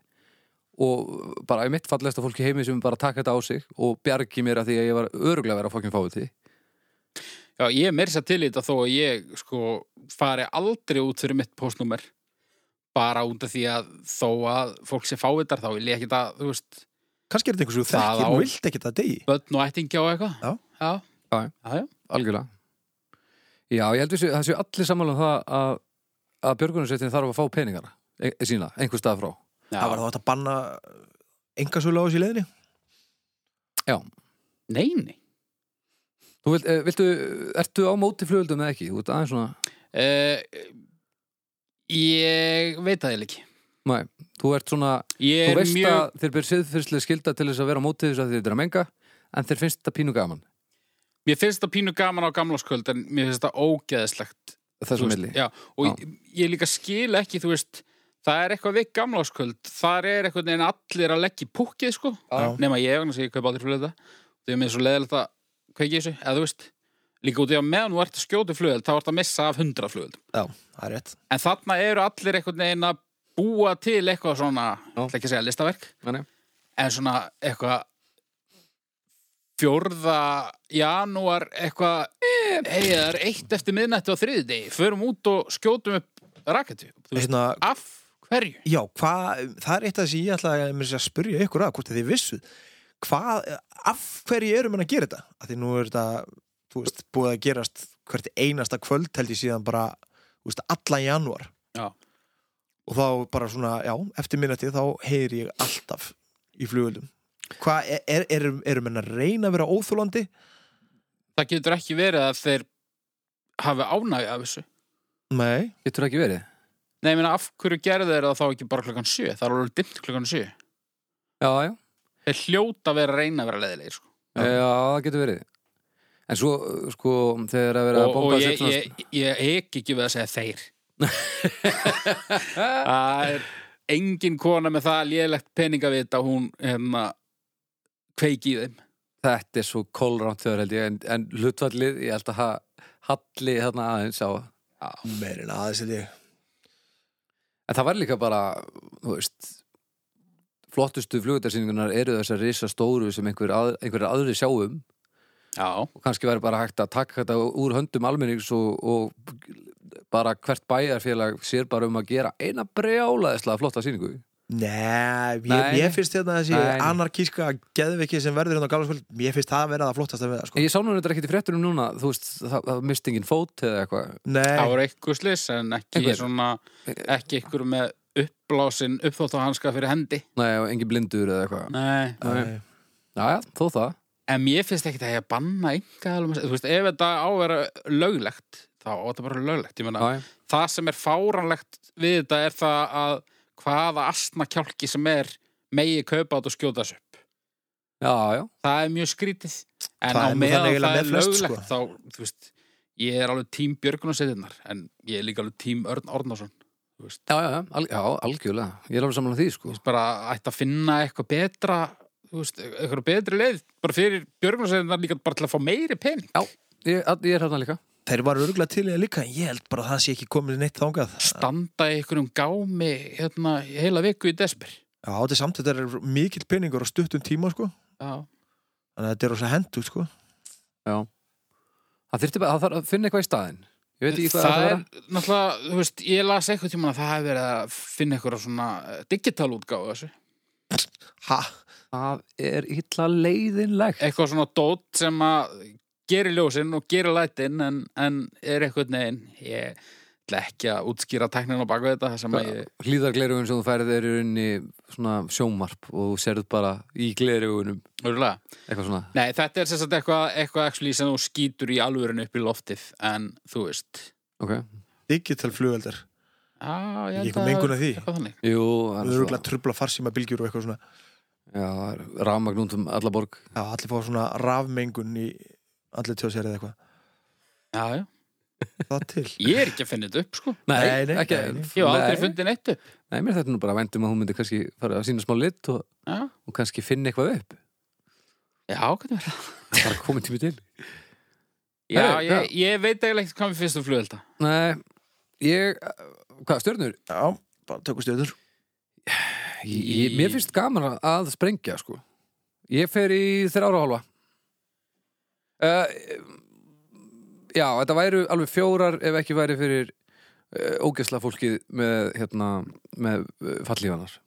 [SPEAKER 1] og bara í mitt fallegasta fólk í heimi sem bara taka þetta á sig og bjargi mér að því að ég var öruglega að vera fókin fáið því.
[SPEAKER 2] Já, ég er meira sér til í þetta þó að ég sko fari aldrei út fyrir mitt postnúmer bara út af því að þó að fólk sem fávitar þá vil ég ekki það, þú veist,
[SPEAKER 3] Kannski er þetta einhversu
[SPEAKER 2] Það
[SPEAKER 3] þekkir
[SPEAKER 2] á-
[SPEAKER 3] og vilt ekki það degi
[SPEAKER 2] börn og ættingja og eitthvað
[SPEAKER 3] Já.
[SPEAKER 2] Já,
[SPEAKER 1] Já, já.
[SPEAKER 2] já, já.
[SPEAKER 1] Algjörlega. Já, ég held við séu- það séu allir sammála um það að, að björgunarsveitin þarf að fá peningana e sína, einhver stað frá.
[SPEAKER 2] já.
[SPEAKER 3] Það var þá hægt að banna engasölu á þessu í leiðinni
[SPEAKER 2] Nei, nei
[SPEAKER 1] Þú vilt, eh, viltu, ertu á móti flugöldum eða ekki? Þú veit aðeins svona,
[SPEAKER 2] uh, Ég veit það ég ekki
[SPEAKER 1] næ, þú ert svona,
[SPEAKER 2] Ég
[SPEAKER 1] þú
[SPEAKER 2] er
[SPEAKER 1] veist
[SPEAKER 2] mjög,
[SPEAKER 1] að þér byrð siðfyrslega skilda til þess að vera á móti þess að þið er að menga, en þér finnst þetta pínu gaman,
[SPEAKER 2] mér finnst það pínu gaman á gamlaskvöld en mér finnst það ógeðslegt
[SPEAKER 1] þessum
[SPEAKER 2] Þú
[SPEAKER 1] milli.
[SPEAKER 2] já, og ég, ég líka skil ekki þú veist, það er eitthvað við gamláskvöld þar er eitthvað en allir að leggja í púkið sko,
[SPEAKER 1] Já.
[SPEAKER 2] nema ég vegna sem ég kaup aldrei flugvelda þau er mér svo leiðilegt að kveiki í þessu, eða þú veist líka út í að meðan þú ert að skjóta flugveld þá ert að missa af hundra flugveld
[SPEAKER 3] Já, það er rétt
[SPEAKER 2] en þarna eru allir eitthvað en að búa til eitthvað svona,
[SPEAKER 1] Já.
[SPEAKER 2] ætla ekki að segja listaverk
[SPEAKER 1] Nei, nei.
[SPEAKER 2] en svona eitthvað fjórða janúar eitthvað hei, það er eitt eftir miðnætti á þriðdegi förum út og skjótum upp raketu Þú veist,
[SPEAKER 3] Hérna,
[SPEAKER 2] af hverju?
[SPEAKER 3] Já, hvað, það er eitt af þessi ég ætla að, meira að segja að spyrja ykkur að, hvort að þið vissu hvað, af hverju eru menn að gera þetta? Af því nú er þetta, þú veist, búið að gerast hvert einasta kvöld held ég síðan bara, þú veist, allan janúar
[SPEAKER 2] Já.
[SPEAKER 3] og þá bara svona, já, eftir minnati þá heyri ég alltaf í flugöldum Hvað, er, er, er, eru menn að reyna að vera óþólandi?
[SPEAKER 2] það getur ekki verið að þeir hafi ánægja af þessu
[SPEAKER 3] Nei
[SPEAKER 1] Getur það ekki verið?
[SPEAKER 2] Nei, ég meina, af hverju gerðu þeir það þá ekki bara klukkan 7? Það er alveg dimmt klukkan 7
[SPEAKER 1] Já, já,
[SPEAKER 2] Þeir hljóta að vera að reyna að vera leiðilegir sko.
[SPEAKER 1] já, það getur verið En svo, uh, sko, þegar að vera að
[SPEAKER 2] og, og
[SPEAKER 1] bomba
[SPEAKER 2] ég,
[SPEAKER 1] Simpsons-
[SPEAKER 2] ég, ég ekki ekki við að segja þeir Það er engin kona með það lélegt peningavita hún hérna kveiki í þeim
[SPEAKER 1] Þetta er svo kólránt þegar held ég En, en hlutvallið, ég held að ha, halli þarna aðeins á En
[SPEAKER 3] Meirin aðeins held ég
[SPEAKER 1] það var líka bara, þú veist Flottustu flugudarsýningunar eru þessar risa stóru sem einhver, að, einhver aðri sjáum
[SPEAKER 2] Já,
[SPEAKER 1] og kannski væri bara hægt að taka þetta úr höndum almennings og, og bara hvert bæjarfélag sér bara um að gera eina brjálaðislega flotta sýningu
[SPEAKER 3] Nei, ég,
[SPEAKER 1] Nei.
[SPEAKER 3] ég finnst þetta þessi
[SPEAKER 1] Nei.
[SPEAKER 3] anarkíska geðviki sem verður hérna á galarskvöld Ég finnst það að vera það flottast að við það sko
[SPEAKER 1] En ég sá nú þetta ekkert í fréttunum núna þú veist, það, það mist engin fót eða eitthvað
[SPEAKER 2] það
[SPEAKER 3] Nei,
[SPEAKER 2] voru eitthvað slis en ekki
[SPEAKER 1] Einhver.
[SPEAKER 2] svona ekki eitthvað með uppblásin uppþóttahanska fyrir hendi
[SPEAKER 1] Nei, og engin blindur eða eitthvað
[SPEAKER 2] Nei
[SPEAKER 3] Nei.
[SPEAKER 1] Jæja, þó það
[SPEAKER 2] En mér finnst ekki það að ég að banna einhverjum Þú veist, ef þetta á að vera löglegt þá á þetta bara að vera löglegt Ég meina,
[SPEAKER 1] Jæja.
[SPEAKER 2] það sem er fáranlegt við þetta er það að hvaða astna kjálki sem er megi kaupa þetta og skjóta þessu upp
[SPEAKER 1] Já, já,
[SPEAKER 2] það er mjög skrítið en
[SPEAKER 3] Það
[SPEAKER 2] á
[SPEAKER 3] er nú
[SPEAKER 2] meðan
[SPEAKER 3] þannig
[SPEAKER 2] það,
[SPEAKER 3] eiginlega sko.
[SPEAKER 2] er
[SPEAKER 3] með flest,
[SPEAKER 2] löglegt þá, þú veist, ég er alveg tím Björgun og setinnar, en ég er líka alveg tím Örn Ornarsson, þú veist
[SPEAKER 1] já, já, já, al, já algjörlega Ég er alveg saman að því,
[SPEAKER 2] Þú
[SPEAKER 1] sko
[SPEAKER 2] veist, bara ætti að finna eitthvað betra þú veist, eitthvað betri leið bara fyrir Björgun og setinnar líka bara til að fá meiri pening
[SPEAKER 1] Já, ég, að- ég er hérna líka
[SPEAKER 3] þeir var örgulega til í það líka en Ég held bara að það sé ekki komið neitt þangað
[SPEAKER 2] standa í einhverjum gámi hérna í heila viku í desper
[SPEAKER 3] Já, þetta er samt, þetta er mikill peningur á stuttum tíma sko
[SPEAKER 2] Já.
[SPEAKER 3] Þannig að þetta er rosa hendur sko
[SPEAKER 1] Það þyrfti bara, það þarf að finna eitthvað í staðinn Ég veit ekki hvað
[SPEAKER 2] það
[SPEAKER 1] það
[SPEAKER 2] er náttúrulega, þú veist, ég las eitthvað tíma að það hefur verið að finna eitthvað svona eh, digital útgáðu þessu
[SPEAKER 3] Ha,
[SPEAKER 1] Það er illa leiðinlegt
[SPEAKER 2] eitthvað svona dót sem að gerir ljósin og gerir lætin en, en er eitthvað neginn ég ætla ekki að útskýra tæknin á baku þetta sem að ég
[SPEAKER 1] Hlýðarglerugun sem þú færið er í rauninni svona sjómarp og þú serð bara í glerugunum
[SPEAKER 2] Örgulega.
[SPEAKER 1] eitthvað svona
[SPEAKER 2] Nei, þetta er sem sagt eitthvað, eitthvað actually sem þú skýtur í alvörinu upp í loftið en þú veist
[SPEAKER 1] Ok,
[SPEAKER 3] digital flugveldar
[SPEAKER 2] Já, ég
[SPEAKER 3] Ég
[SPEAKER 2] held
[SPEAKER 3] kom
[SPEAKER 2] að-
[SPEAKER 3] engun að því.
[SPEAKER 2] eitthvað þannig.
[SPEAKER 1] jú,
[SPEAKER 3] Það
[SPEAKER 1] það
[SPEAKER 3] er
[SPEAKER 1] er svo
[SPEAKER 3] örgulega trubla farsíma bylgjur og eitthvað svona
[SPEAKER 1] Já, rafmagn út um alla borg
[SPEAKER 3] Já, allir fá svona rafmengun í allir tjóðsér eða eitthvað
[SPEAKER 2] Já, já.
[SPEAKER 3] Það til
[SPEAKER 2] Ég er ekki að finna þetta upp, sko
[SPEAKER 3] Nei, nei,
[SPEAKER 1] ekki
[SPEAKER 3] nei, nei.
[SPEAKER 2] Ég hef aldrei
[SPEAKER 1] Nei.
[SPEAKER 2] fundið neitt upp
[SPEAKER 1] Nei, mér þetta nú bara vendum að hún myndi kannski fara að sína smá lit og,
[SPEAKER 2] Já,
[SPEAKER 1] og kannski finna eitthvað upp
[SPEAKER 2] já hvernig verður það?
[SPEAKER 1] Það er bara komið tími til
[SPEAKER 2] Já,
[SPEAKER 1] Herru,
[SPEAKER 2] ég, ég veit eiginlega ekkert hvað mér finnst um flugelda
[SPEAKER 1] Nei, ég Hvað, stjörnur?
[SPEAKER 3] Já, bara tökum stjórnur
[SPEAKER 1] Ég, ég, mér finnst gaman að- að sprengja, sko Ég fer í þrjára og hálfa uh, Já, þetta væru alveg fjórar ef ekki væri fyrir uh, ógesla fólkið með, hérna, með uh, fallífanar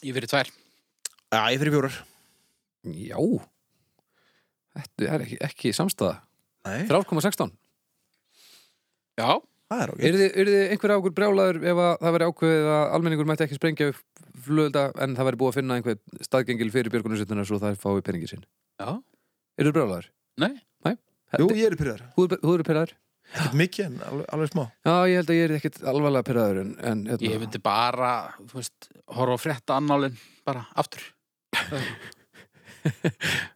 [SPEAKER 2] Ég verið tvær
[SPEAKER 3] Já, ég fyrir fjórar
[SPEAKER 1] Já Þetta er ekki, ekki samstæða
[SPEAKER 3] Nei,
[SPEAKER 1] 3,16
[SPEAKER 2] Já,
[SPEAKER 3] það er ok
[SPEAKER 1] okay. Eru þið einhver ákur brjálaður ef að það væri ákveðið að almenningur mætti ekki sprengja upp flöðulda en það væri búið að finna einhver staðgengil fyrir björgunarsveitina svo það fái peningir sinn
[SPEAKER 2] já,
[SPEAKER 1] Eru þið brjálaður?
[SPEAKER 2] Nei.
[SPEAKER 1] Nei?
[SPEAKER 3] Jú,
[SPEAKER 1] Jú,
[SPEAKER 3] ég er pyrraður
[SPEAKER 1] Þú þú eru pyrraður?
[SPEAKER 3] Ekkert mikið en alveg, alveg smá
[SPEAKER 1] Já, ég held að ég er ekkit alvarlega pyrraður en, en hérna,
[SPEAKER 2] ég myndi bara, þú veist, horfa á frétta annálinn bara aftur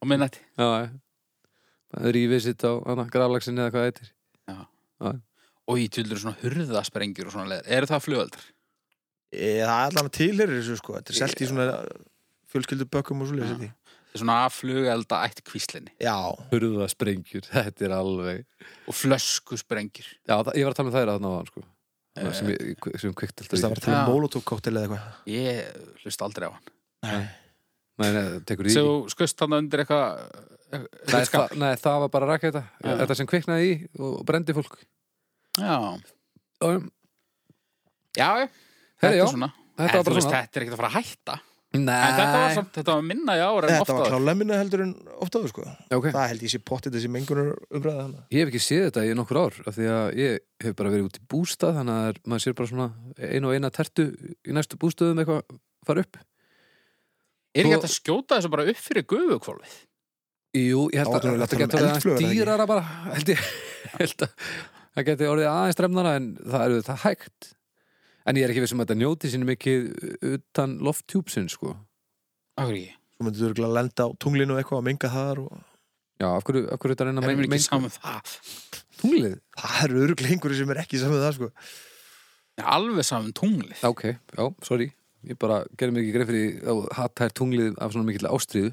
[SPEAKER 2] og minnætti
[SPEAKER 1] já, já Rífið sitt á hana, graflagsinni eða hvað eitthvað
[SPEAKER 2] og ég tölur svona hurðasprengjur og svona leður eru það flugöldar?
[SPEAKER 3] Ég- Það er allan að tilherir þessu sko Þetta er selt í svona fjölskyldubökkum og svo
[SPEAKER 2] Já.
[SPEAKER 3] leysið
[SPEAKER 2] svona flugelda ætt kvíslinni
[SPEAKER 3] Já,
[SPEAKER 1] Hurða sprengjur, þetta er alveg
[SPEAKER 2] og flöskusprengjur
[SPEAKER 1] Já, það, ég var að tala um þær að þarna á hann sko Þarna sem, ég, sem kvikt
[SPEAKER 3] þess að það var til
[SPEAKER 2] Já.
[SPEAKER 3] molotov kóttel eða eitthvað
[SPEAKER 2] ég hlust aldrei á hann
[SPEAKER 1] Nei, nei, það tekur í
[SPEAKER 2] sem þú skust hann undir eitthvað
[SPEAKER 1] Nei,
[SPEAKER 2] eitthvað
[SPEAKER 1] það,
[SPEAKER 2] skall.
[SPEAKER 1] nei, það var bara raketa
[SPEAKER 2] Já.
[SPEAKER 1] Þetta sem kviknaði í og og brendi fólk
[SPEAKER 2] Já,
[SPEAKER 1] um,
[SPEAKER 2] já, já, þetta
[SPEAKER 1] Herri, já,
[SPEAKER 2] er svona En
[SPEAKER 1] þetta var
[SPEAKER 2] þú
[SPEAKER 1] bara
[SPEAKER 2] veist,
[SPEAKER 1] svona
[SPEAKER 2] þetta er ekkert að fara að hætta
[SPEAKER 1] Nei,
[SPEAKER 2] En þetta var, samt, þetta var minna í ára en
[SPEAKER 3] Þetta
[SPEAKER 2] ofta
[SPEAKER 3] var klálega minna heldur en oft áður sko
[SPEAKER 1] ok.
[SPEAKER 3] Það held ég sé pottið þessi mengunar umræða hana
[SPEAKER 1] Ég hef ekki séð þetta í nokkur ár af því að ég hef bara verið út í bústað þannig að það er- maður sér bara svona einu og eina tertu í næstu bústöðum eitthvað fara upp
[SPEAKER 2] Er ekki
[SPEAKER 1] Svo-
[SPEAKER 2] hægt að skjóta þessu bara upp fyrir gufuhvolfið?
[SPEAKER 1] Jú, ég held
[SPEAKER 3] Þá áttu
[SPEAKER 1] að
[SPEAKER 3] að tala um
[SPEAKER 1] þetta getur orðið
[SPEAKER 3] eldflugur,
[SPEAKER 1] aðeins
[SPEAKER 3] eða ekki?
[SPEAKER 1] dýrara bara, held ég held að það getur orðið aðeins drefnara en það eru þetta hægt en ég er ekki vissum að þetta njóti sín mikið utan lofttjúpsinn sko
[SPEAKER 2] Akkur ekki.
[SPEAKER 3] Svo myndið þú örgulega að lenda á tunglinu og eitthvað að menga þar og...
[SPEAKER 1] Já, af hverju, af hverju þetta reyna
[SPEAKER 2] Það er mér ekki
[SPEAKER 1] menn
[SPEAKER 2] saman um það.
[SPEAKER 1] tunglið?
[SPEAKER 3] Það eru örgulega einhverju sem er ekki saman með það sko
[SPEAKER 2] Nei, Alveg saman tunglið.
[SPEAKER 1] Já, Ok, já, sorry Ég bara gerði mér ekki greið fyrir að hatta þær tunglið af svona mikill ástríðu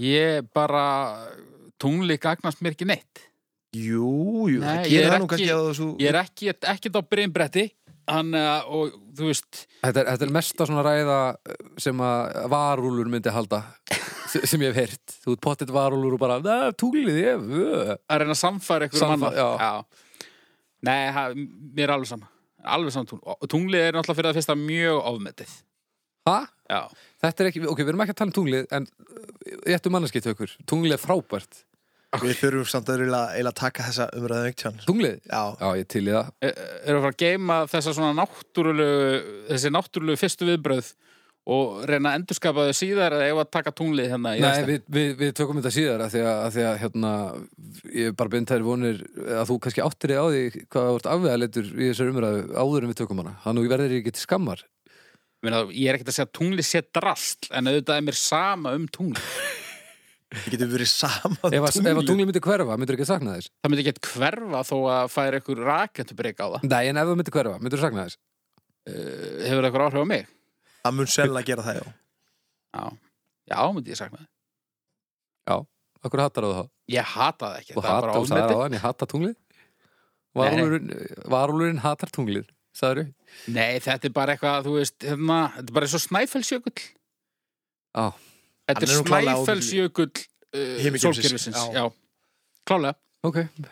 [SPEAKER 2] Ég bara, tunglið gagnast mér ekki neitt.
[SPEAKER 3] Jú, jú,
[SPEAKER 2] Nei,
[SPEAKER 3] það
[SPEAKER 2] ég er
[SPEAKER 3] gerir það nú
[SPEAKER 2] ekki-
[SPEAKER 3] kannski að þessu
[SPEAKER 2] Ég er ekki, ekkert á breymbretti, hann, eh, og þú veist,
[SPEAKER 1] Þetta er, þetta er mesta svona ræða eh, sem að varúlur myndi halda sem sem ég hef heyrt Þú ert pottitt varúlur og bara, það er tunglið ég vö."
[SPEAKER 2] að reyna að samfæra ykkur
[SPEAKER 1] Sannfæra,
[SPEAKER 2] manna.
[SPEAKER 1] já.
[SPEAKER 2] Nei, það, mér er alveg sama. Alveg sama um tunglið. Og Tunglið er náttúrulega fyrir það fyrsta mjög ofmetið.
[SPEAKER 1] Ha?
[SPEAKER 2] Já.
[SPEAKER 1] Þetta er ekki, ok, við erum ekki að tala um tunglið en ég ættu mannarskitt okkur Tunglið er frábært
[SPEAKER 3] Við þurfum samt að eiginlega eiginlega að taka þessa umræðum eitt hann
[SPEAKER 1] Tunglið?
[SPEAKER 3] Já,
[SPEAKER 1] Já, ég til í það
[SPEAKER 2] Er, er e, að fara að geima þessa svona náttúrulegu, þessi náttúrulegu fyrstu viðbröð og reyna að endurskapa þau síðar eða ef að taka tunglið hérna í
[SPEAKER 1] Nei,
[SPEAKER 2] restina?
[SPEAKER 1] við, við, við tökum þetta síðar að því að, að, því að hérna, ég er bara beint þær vonir að þú kannski áttir þig á því hvað þú ert afvegaleitur í þessar umræðu áður en við tökum hana. Þannig verður ég ekki til skammar.
[SPEAKER 2] Ég meina, Ég er ekkert að segja að tunglið sé drast en auðvitað er mér sama um tunglið
[SPEAKER 3] við getum verið saman
[SPEAKER 1] Ef að, ef að tungli myndi hverfa, myndur ekki sakna þess?
[SPEAKER 2] Það myndi ekki hverfa þó að færa ykkur raketubreik á það
[SPEAKER 1] Nei, en ef það myndi hverfa, myndur sakna þess?
[SPEAKER 2] uh, Hefur það ykkur áhrif á mig?
[SPEAKER 3] Það mun sennilega gera það, já
[SPEAKER 2] Já, já myndi ég sakna það
[SPEAKER 1] Akkur hattar það þá?
[SPEAKER 2] Ég hata það ekki,
[SPEAKER 1] Þú
[SPEAKER 2] það er bara
[SPEAKER 1] hattar það
[SPEAKER 2] ofmetið
[SPEAKER 1] áðan, ég hatta tunglið?
[SPEAKER 2] Nei, nei.
[SPEAKER 1] Varúlurinn, varúlurinn hattar tunglið, sagður við?
[SPEAKER 2] Nei, þetta er bara eitthvað, þú veist, hérna, þetta er bara eins og snæfellsjökull
[SPEAKER 1] Á,
[SPEAKER 2] Þetta
[SPEAKER 3] Hann
[SPEAKER 2] er
[SPEAKER 3] er nú klárlega á-
[SPEAKER 2] snæfellsjökull uh,
[SPEAKER 3] Himingeimsins.
[SPEAKER 2] sólkerfisins
[SPEAKER 3] Já.
[SPEAKER 2] Já, klálega
[SPEAKER 1] ok,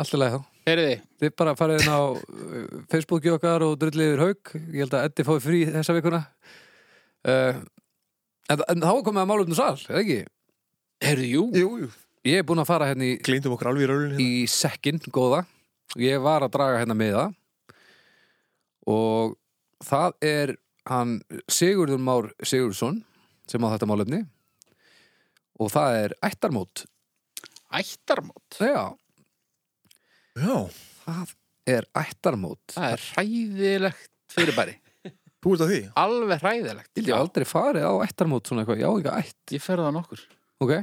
[SPEAKER 1] allt í lagi þá.
[SPEAKER 2] Heyriði,
[SPEAKER 1] Þið bara farið inn á uh, Facebooki okkar og drullið yfir haug Ég held að Eddi fái frí þessa vikuna uh, en, en þá er komið að málum sal, eða ekki?
[SPEAKER 2] heyrðu, jú
[SPEAKER 3] Jú, jú
[SPEAKER 1] Ég er búin að fara hérna í,
[SPEAKER 3] Gleindum okkur alveg í raulinu
[SPEAKER 1] í sekkin, góða Ég var að draga hérna með það Og það er hann Sigurður Már Sigurðsson sem á þetta málefni og það er ættarmót
[SPEAKER 2] Ættarmót
[SPEAKER 1] Já,
[SPEAKER 3] Já,
[SPEAKER 1] það er ættarmót
[SPEAKER 2] Það er hræðilegt fyrirbæri
[SPEAKER 3] þú ert að því
[SPEAKER 2] Alveg hræðilegt
[SPEAKER 1] Ég hef aldrei farið á ættarmót svona eitthvað, já ekki ætt
[SPEAKER 2] Ég ferði á nokkur
[SPEAKER 1] Ok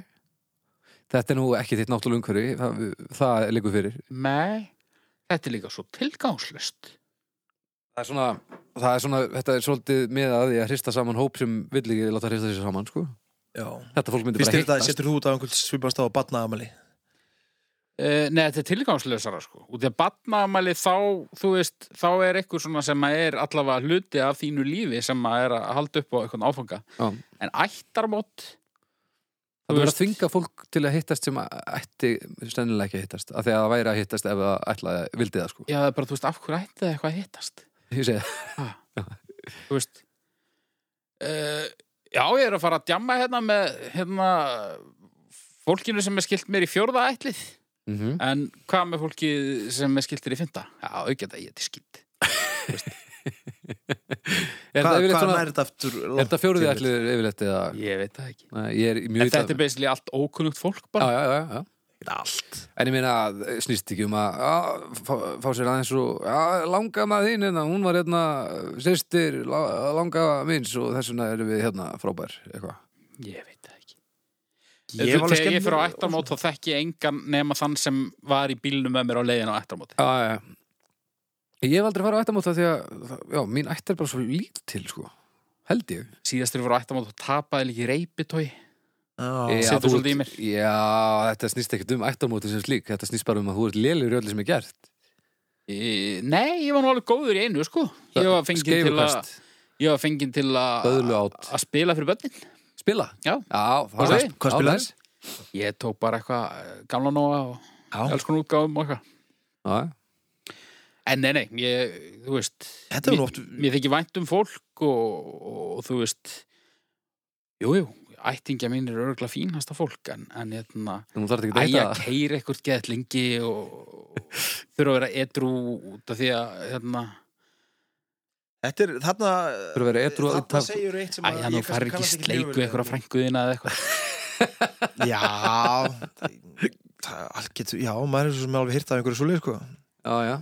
[SPEAKER 1] Þetta er nú ekki þitt náttúrulega umhverfi Það, það liggur fyrir
[SPEAKER 2] Nei, þetta er líka svo tilgangslust
[SPEAKER 1] Það er svona, það er svona Þetta er svolítið með að því að hrista saman hóp sem vill ekki láta hrista sér saman sko.
[SPEAKER 3] Já
[SPEAKER 1] Þetta fólk myndi
[SPEAKER 3] Fyrst er
[SPEAKER 1] bara
[SPEAKER 3] þetta,
[SPEAKER 1] hittast
[SPEAKER 3] setur þú út af einhvern svipast á batnaðamæli
[SPEAKER 2] uh, Nei, þetta er tilgangslösara sko Út í að batnaðamæli þá, þú veist þá er eitthvað svona sem að er allavega hluti af þínu lífi sem að er að halda upp á eitthvað áfanga
[SPEAKER 1] Já.
[SPEAKER 2] En ættarmót þú
[SPEAKER 1] Það verður
[SPEAKER 2] veist-
[SPEAKER 1] að þvinga fólk til að hittast sem að ætti stennilega ekki að hittast af því að það væri að hittast ef það ætlaði, vildi það sko.
[SPEAKER 2] Já, það er bara, þú veist, af hverju ætti það eitthvað að hittast
[SPEAKER 1] Ég segi það.
[SPEAKER 2] Þú veist uh, Já, ég er að fara að djamma hérna með hérna fólkinu sem er skilt mér í fjórða ætlið
[SPEAKER 1] Mhm.
[SPEAKER 2] En hvað með fólki sem er skiltir í fynda? Já, auðvitað, ég er skýtt.
[SPEAKER 1] Er
[SPEAKER 3] Hvað
[SPEAKER 1] þetta
[SPEAKER 3] hvað
[SPEAKER 1] yfirleitt svona-
[SPEAKER 3] nær þetta aftur
[SPEAKER 1] er þetta fjóruði ætlið yfirleitt eða
[SPEAKER 2] Ég veit það ekki.
[SPEAKER 1] Nei, ég er í
[SPEAKER 2] En
[SPEAKER 1] mjög
[SPEAKER 2] þetta er basically allt ókunnugt fólk
[SPEAKER 1] Já,
[SPEAKER 2] bara.
[SPEAKER 1] já, já, já.
[SPEAKER 3] Allt
[SPEAKER 1] En ég meina, eh, snýst ekki um að já, fá, fá sér aðeins og já, langa maður þín, hérna, hún var hérna sýstir, langa minns og þess vegna erum við hérna frábær eitthvað.
[SPEAKER 2] Ég veit það ekki.
[SPEAKER 3] Ég
[SPEAKER 2] Ég
[SPEAKER 3] var alveg
[SPEAKER 2] Þegar ég
[SPEAKER 3] skemmtilegur-
[SPEAKER 2] fyrir á ættarmót þá þekki ég engan nema þann sem var í bílnum með mér á leiðin á ættarmóti.
[SPEAKER 1] Já, já, já. Ég hef aldrei farið á ættamóta því að, já, mín ætt er bara svo lítil, sko. Held ég.
[SPEAKER 2] Síðast þegar ég fyrir á ættarmót þá tapaði líki reypitói.
[SPEAKER 3] Já,
[SPEAKER 2] setur svolítið
[SPEAKER 1] þú ert-
[SPEAKER 2] í mér.
[SPEAKER 1] Já, þetta snýst ekkert um ættamóti sem slík, þetta snýst bara um að þú ert lélegur í öllu sem er gert.
[SPEAKER 2] Nei, ég var nú alveg góður í einu, sko. Ég var fengið til að,
[SPEAKER 1] Skeifukast,
[SPEAKER 2] ég var fengið til að,
[SPEAKER 1] böðlu átt.
[SPEAKER 2] að spila fyrir börnin.
[SPEAKER 1] Spila?
[SPEAKER 2] Já.
[SPEAKER 1] Já,
[SPEAKER 2] Hvað
[SPEAKER 1] það-
[SPEAKER 2] sp-
[SPEAKER 3] hvað
[SPEAKER 1] já,
[SPEAKER 3] spilaðir?
[SPEAKER 1] nice.
[SPEAKER 2] Ég tók bara eitthvað eh, gamla nóa og
[SPEAKER 3] já.
[SPEAKER 2] alls konar útgáfum og eitthvað.
[SPEAKER 1] Já, já.
[SPEAKER 2] En nei, nei, ég, þú veist
[SPEAKER 3] Þetta er nú
[SPEAKER 2] mér-
[SPEAKER 3] oft-
[SPEAKER 2] Mér þykir vænt um fólk og, og þú veist Jú, jú, ættingja mín er örgla fínasta fólk en, en hérna,
[SPEAKER 1] Nú þarf ekki að
[SPEAKER 2] æja
[SPEAKER 1] deyta.
[SPEAKER 2] keir eitthvað geðlingi og, og þurfa að vera edru út af því að hérna,
[SPEAKER 3] Þetta er þarna
[SPEAKER 1] Þurfa að vera edrú að
[SPEAKER 3] Þarna
[SPEAKER 1] upptaf-
[SPEAKER 3] segir eitt sem
[SPEAKER 2] Æ, hann
[SPEAKER 3] ég kannski
[SPEAKER 2] fær ekki
[SPEAKER 3] kannast ekki mjög
[SPEAKER 2] sleiku
[SPEAKER 3] vel
[SPEAKER 2] ykkur á
[SPEAKER 3] við.
[SPEAKER 2] frænguðina eða eitthvað.
[SPEAKER 3] Já það- allt getur, já, maður er svo sem alveg hýrt af einhverju svoleið, sko
[SPEAKER 1] Já, já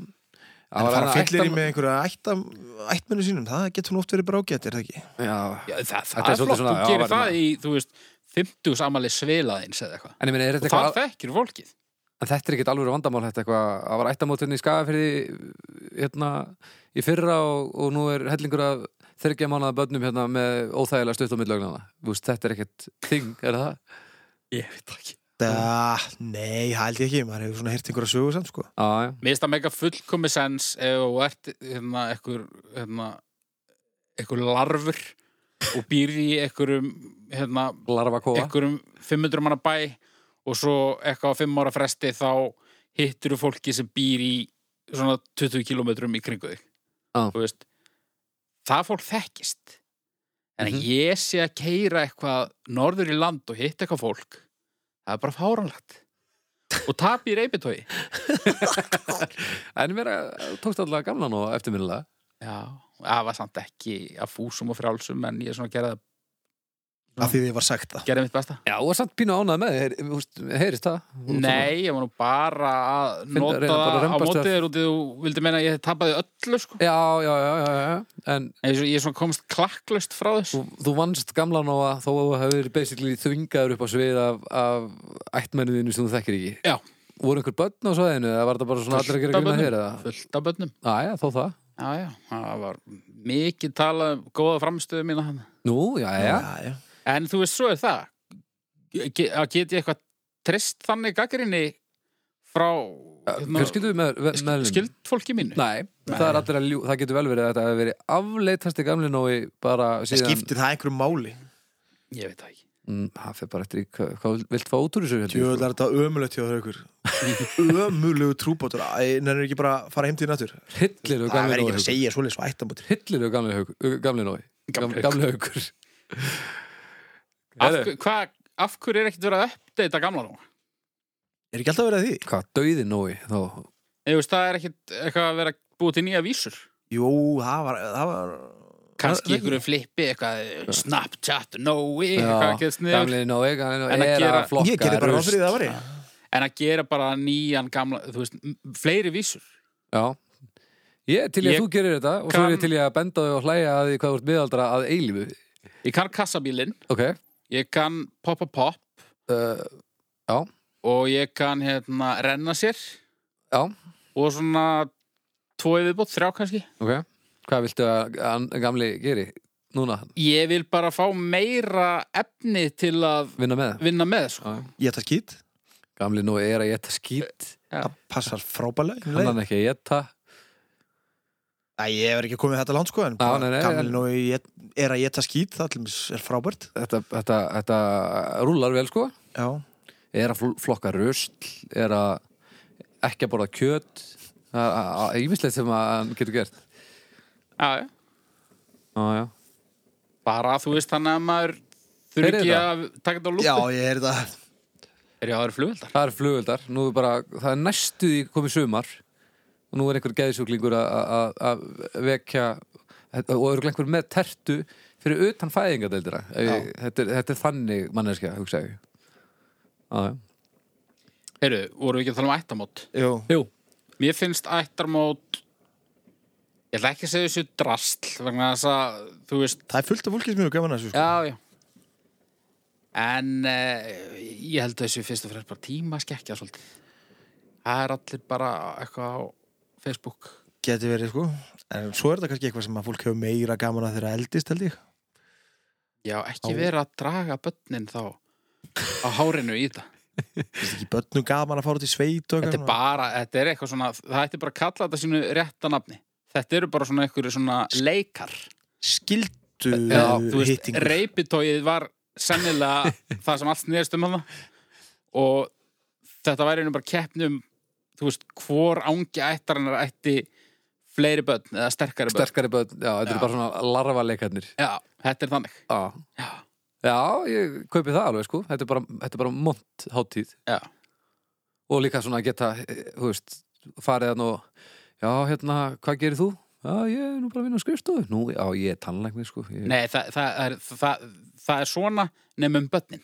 [SPEAKER 3] En það fara
[SPEAKER 1] hann
[SPEAKER 3] fyllir í
[SPEAKER 1] ættam-
[SPEAKER 3] með einhverja ættam- ættmennu sínum, það getur nú oft verið brágætt, er það ekki?
[SPEAKER 1] Já,
[SPEAKER 2] Já, það,
[SPEAKER 1] Þetta
[SPEAKER 2] það
[SPEAKER 1] er
[SPEAKER 2] er
[SPEAKER 1] svolítið
[SPEAKER 2] flott,
[SPEAKER 1] svona- já,
[SPEAKER 2] þú gerir
[SPEAKER 1] væri
[SPEAKER 2] það
[SPEAKER 1] maður.
[SPEAKER 2] í, þú veist, 50 samali sveilaðins eða eitthvað.
[SPEAKER 1] En ég meina, er
[SPEAKER 2] Og
[SPEAKER 1] þetta
[SPEAKER 2] það
[SPEAKER 1] eitthvað
[SPEAKER 2] þekkir fólkið.
[SPEAKER 1] En þetta er ekkert alveg vandamál Þetta eitthvað að var ættamótunni í skagafyrði hérna í fyrra og, og nú er hellingur af þryggja mánaða börnum hérna með óþægilega stutt á millögnana Vist, Þetta er ekkert þing, er það?
[SPEAKER 2] Ég veit það ekki.
[SPEAKER 3] Da, nei, held ég ekki, maður hefur svona hýrt einhverja sögu samt, sko
[SPEAKER 1] Já, já,
[SPEAKER 2] Mér finnst það mega fullkomi sens ef þú ert hérna, ekkur, hérna, ekkur larfur og býr í ekkurum, hérna,
[SPEAKER 1] larfa kóa
[SPEAKER 2] ekkurum 500 manna bæ og svo eitthvað á 5 ára fresti þá hittur þú fólki sem býr í svona 20 kilometrum í kringu þig.
[SPEAKER 1] Já.
[SPEAKER 2] Þú veist, það fólk þekkist. En mm
[SPEAKER 1] Mhm.
[SPEAKER 2] ég sé að keira eitthvað norður í land og hitt eitthvað fólk, það er bara fáranlegt. Og tapi í reypitói.
[SPEAKER 1] En mér eh, tókst allavega gamla nú eftirminnilega
[SPEAKER 2] Já, það var samt ekki að fúsum og frjálsum en ég svona gerði,
[SPEAKER 3] Af því þið var sagt það
[SPEAKER 2] gerði mitt besta.
[SPEAKER 1] Já, og samt pínu ánað með, heyr, húst, heyrist það
[SPEAKER 2] Nei, ég var nú bara að
[SPEAKER 1] Finna-
[SPEAKER 2] nota
[SPEAKER 1] reyna bara að
[SPEAKER 2] það á
[SPEAKER 1] rembast
[SPEAKER 2] mótið
[SPEAKER 1] þér.
[SPEAKER 2] þér út í þú vildi meina að ég tapaði öllu sko.
[SPEAKER 1] Já, já, já, já, já En
[SPEAKER 2] En ég, ég svona komst klakklaust frá þess.
[SPEAKER 1] þú, þú vannst gamla nú að þó að þú hefur basically þvingaður upp á svið af, af ættmennuðinu sem þú þekkir ekki
[SPEAKER 2] Já.
[SPEAKER 1] Voru einhver börn á svæðinu eða var þetta bara svona allir að gera
[SPEAKER 2] Fullt af
[SPEAKER 1] grunna
[SPEAKER 2] börnum.
[SPEAKER 1] hér eða?
[SPEAKER 2] Fullt af börnum.
[SPEAKER 1] Æja, þó það
[SPEAKER 2] Já, já, það var mikið talað um góða framstöðu mína hann.
[SPEAKER 1] Nú, já, já,
[SPEAKER 3] já.
[SPEAKER 2] En þú veist, svo er það. Ge- Að get ég eitthvað trist þannig gaggrinni frá hérna,
[SPEAKER 1] Fjölskyldu með, með, með
[SPEAKER 2] skild fólki mínu?
[SPEAKER 1] Nei, það er allir að ljú, það getur vel verið að þetta hefur verið afleitasti gamli nói bara
[SPEAKER 3] Það
[SPEAKER 1] síðan
[SPEAKER 3] skiptir það einhverju máli
[SPEAKER 2] Ég veit það ekki.
[SPEAKER 1] Mm, Það fyrir bara eftir í hvað, hvað vilt fá út úr þessu sko. heldur,
[SPEAKER 3] Tjóðlega er þetta ömulegt hjá þau ykkur Ömulegu trúbátur Æ, nennir ekki bara að fara heim til þín aftur?
[SPEAKER 1] Hillir og
[SPEAKER 3] Það
[SPEAKER 1] gamli
[SPEAKER 3] verður ekki að
[SPEAKER 1] nói
[SPEAKER 3] segja svoleiðis og ættamótur
[SPEAKER 1] Hillir og gamli, hauk- gamli nói
[SPEAKER 2] Gamli
[SPEAKER 1] Gamli haukur
[SPEAKER 2] Af,
[SPEAKER 1] Heyrðu.
[SPEAKER 2] hver- hvað, af hverju er ekkert verið að uppdeita gamla nú?
[SPEAKER 3] Er ekki alltaf verið að því?
[SPEAKER 1] Hvað, döiði nói þá
[SPEAKER 2] Ég veist, það er ekkert eitthvað að vera búið til nýja vísur.
[SPEAKER 3] Jú, það var, það var...
[SPEAKER 2] Kanski
[SPEAKER 3] Það- það-
[SPEAKER 2] einhverju flippi, eitthvað Snapchat, Nói, eitthvað
[SPEAKER 1] Já,
[SPEAKER 2] að geta sniður.
[SPEAKER 1] Gamli nói, gamli nói
[SPEAKER 2] En að
[SPEAKER 1] er
[SPEAKER 2] gera-
[SPEAKER 1] að flokka
[SPEAKER 3] Ég gerði bara ráð
[SPEAKER 1] rusl.
[SPEAKER 3] fyrir því að það væri
[SPEAKER 2] En að gera bara nýjan gamla, þú veist, m- fleiri vísur.
[SPEAKER 1] Já Ég er til ég að
[SPEAKER 2] Ég
[SPEAKER 1] þú gerir þetta og svo er ég
[SPEAKER 2] kann-
[SPEAKER 1] til ég að benda þau og hlæja að því hvað þú ert miðaldra að eilífu
[SPEAKER 2] Ég kann kassabílinn,
[SPEAKER 1] Ok,
[SPEAKER 2] ég kann poppa pop
[SPEAKER 1] uh,
[SPEAKER 2] og ég kann, hérna, renna sér
[SPEAKER 1] já,
[SPEAKER 2] og svona tvo í viðbót, þrjá kannski.
[SPEAKER 1] ok Hvað viltu að an- gamli geri núna?
[SPEAKER 2] Ég vil bara fá meira efni til að
[SPEAKER 1] Vinna með það?
[SPEAKER 2] vinna með, sko.
[SPEAKER 1] Já, já.
[SPEAKER 3] Ég ætla skýt,
[SPEAKER 1] Gamli nú er að geta skýt
[SPEAKER 3] það passar frábælega
[SPEAKER 1] Hann hann ekki að geta
[SPEAKER 3] Æ, ég er ekki komið þetta langt sko en
[SPEAKER 1] Já, nei, nei,
[SPEAKER 3] gamli
[SPEAKER 1] en-
[SPEAKER 3] nú er að geta skýt það til mér er frábært
[SPEAKER 1] Þetta, þetta, þetta rúlar vel sko
[SPEAKER 3] Já,
[SPEAKER 1] Er að fl- flokka rusl Er að ekki að borða kjöt Ímislegt sem að hann getur gert
[SPEAKER 2] Já, já.
[SPEAKER 1] Já, já
[SPEAKER 2] Bara, þú veist, þannig að maður
[SPEAKER 1] Þeir
[SPEAKER 2] þurfi
[SPEAKER 1] eru
[SPEAKER 2] ekki
[SPEAKER 1] það.
[SPEAKER 2] að taka þetta á
[SPEAKER 3] já
[SPEAKER 2] lúku.
[SPEAKER 3] ég er það
[SPEAKER 2] Er ég að það eru flugveldar?
[SPEAKER 1] Það er flugöldar, nú er bara, það er næstu því komið sumar og nú er einhver geðsjúklingur að- að að vekja og er einhver með tertu fyrir utan fæðingadeildina Ef ég- þetta, er- þetta er þannig manneskja, hugsa ég Já, já.
[SPEAKER 2] Heyrðu, voru við ekki að tala um ættamót?
[SPEAKER 3] Jú,
[SPEAKER 1] Jú,
[SPEAKER 2] Mér finnst ættarmót Ég ætla ekki að segja þessu drastl vegna þess að, þú veist
[SPEAKER 3] það er fullt af fólki sem eru gaman að þessu sko.
[SPEAKER 2] Já, já En eh, ég held að þessu fyrst og fremst bara tíma skekkja svolítið Það er allir bara eitthvað á Facebook
[SPEAKER 3] Geti verið sko En svo er þetta kannski eitthvað sem að fólk hefur meira gaman að þeirra eldist held ég
[SPEAKER 2] Já, ekki vera að draga börnin þá á hárinu í þetta
[SPEAKER 3] Vist ekki börnum gaman að fara út í sveit og
[SPEAKER 2] Þetta er bara, þetta er eitthvað svona það ætti bara að kalla þetta sínu rétta nafni Þetta eru bara svona einhverju svona leikar
[SPEAKER 3] Skildu
[SPEAKER 1] Já,
[SPEAKER 2] þú veist,
[SPEAKER 3] hittingur
[SPEAKER 2] reypitóið var sennilega það sem allt nýðast um hana og þetta væri nú bara keppnum þú veist, hvor ángi ættarinnar ætti fleiri börn eða sterkari börn
[SPEAKER 1] sterkari börn, já, þetta er
[SPEAKER 2] Já.
[SPEAKER 1] bara svona larvaleikarnir
[SPEAKER 2] Já, þetta er þannig
[SPEAKER 1] Já,
[SPEAKER 2] Já,
[SPEAKER 1] já ég kaupi það alveg sko Þetta er bara, þetta er bara mont hátíð
[SPEAKER 2] já,
[SPEAKER 1] og líka svona að geta, eh, þú veist, farið að nú, já, hérna, hvað gerir þú? já, ég er nú bara að vinna á skrifstofu nú, já, ég er tannlækni, sko ég...
[SPEAKER 2] Nei, það, það, er, það, það er svona nefnum börnin.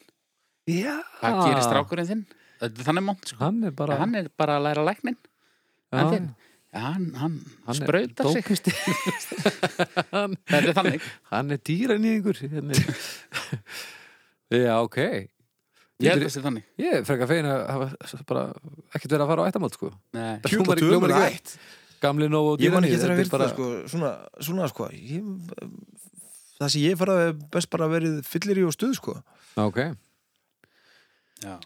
[SPEAKER 1] já,
[SPEAKER 2] Það gerir strákurinn þinn. Það er þannig mónt, sko.
[SPEAKER 1] hann er Ah. bara Ah.
[SPEAKER 2] Hann er bara að læra læknin. hann þinn. Ja, hann, hann,
[SPEAKER 1] hann er
[SPEAKER 2] sprautar sig.
[SPEAKER 1] dópisti. hann,
[SPEAKER 2] Þetta er þannig.
[SPEAKER 1] hann er dýranýðingur hérna er- já, ok
[SPEAKER 2] Ég held að það sé þannig.
[SPEAKER 1] ég er frekar fegin að hafa bara ekkert verið að fara á ættamál, sko
[SPEAKER 2] Nei.
[SPEAKER 3] Hjúla
[SPEAKER 1] Það hljómar ekki-
[SPEAKER 3] dömur
[SPEAKER 1] hljómar ekki-
[SPEAKER 3] ætt
[SPEAKER 1] gamli nóg og
[SPEAKER 3] Ég man ekki
[SPEAKER 1] dýraníð,
[SPEAKER 3] eftir að
[SPEAKER 1] þetta er
[SPEAKER 3] verið það sko Svona, svona sko ég, Það sem ég faraði best bara verið fyllir í og stuð sko
[SPEAKER 1] ok,
[SPEAKER 2] Já.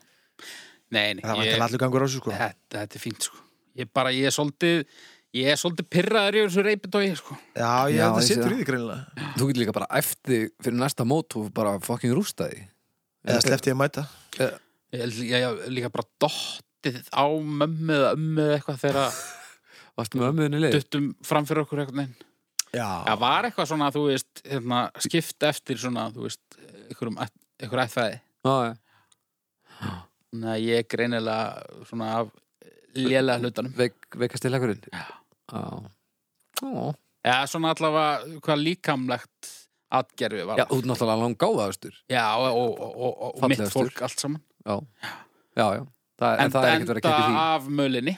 [SPEAKER 2] Nei, nei.
[SPEAKER 3] Það var
[SPEAKER 2] ég-
[SPEAKER 3] ekki allur gangur á þessu sko
[SPEAKER 2] þetta, þetta er fínt, sko. Ég bara, ég er svolítið, ég er svolítið pirraður yfir þessu reypitói, sko.
[SPEAKER 3] Já, ég
[SPEAKER 1] Já,
[SPEAKER 3] held að
[SPEAKER 1] ég sé
[SPEAKER 3] sittur
[SPEAKER 1] það.
[SPEAKER 3] í því greinilega
[SPEAKER 1] þú getur líka bara eftir fyrir næsta mót og bara fucking rústa því
[SPEAKER 3] Eða sleppti ég að mæta
[SPEAKER 2] Ég, held- ég, ég líka bara dottið á mömmu eða ömmu eða eitthvað þegar að
[SPEAKER 1] varst með ömmuðinni leið
[SPEAKER 2] duttum fram fyrir okkur eitthvað neginn.
[SPEAKER 3] Já,
[SPEAKER 2] Það var eitthvað svona, þú veist, hérna, skipt eftir svona, þú veist, einhverjum, ætt- einhverjum ættfæði.
[SPEAKER 1] Já, já.
[SPEAKER 2] Þannig að ég er greinilega svona af lélega hlutanum.
[SPEAKER 1] Veik- veikast til ekkurinn
[SPEAKER 2] Já.
[SPEAKER 1] já,
[SPEAKER 2] Já, svona allavega hvað líkamlegt atgerfi var.
[SPEAKER 1] já út náttúrulega langgáðaðastur
[SPEAKER 2] Já, og, og, og, og, og mitt
[SPEAKER 1] Fallegastur.
[SPEAKER 2] fólk allt saman.
[SPEAKER 1] já, já, já Þa, en,
[SPEAKER 2] En
[SPEAKER 1] það er ekkert verið að keppa í því
[SPEAKER 2] af mölinni.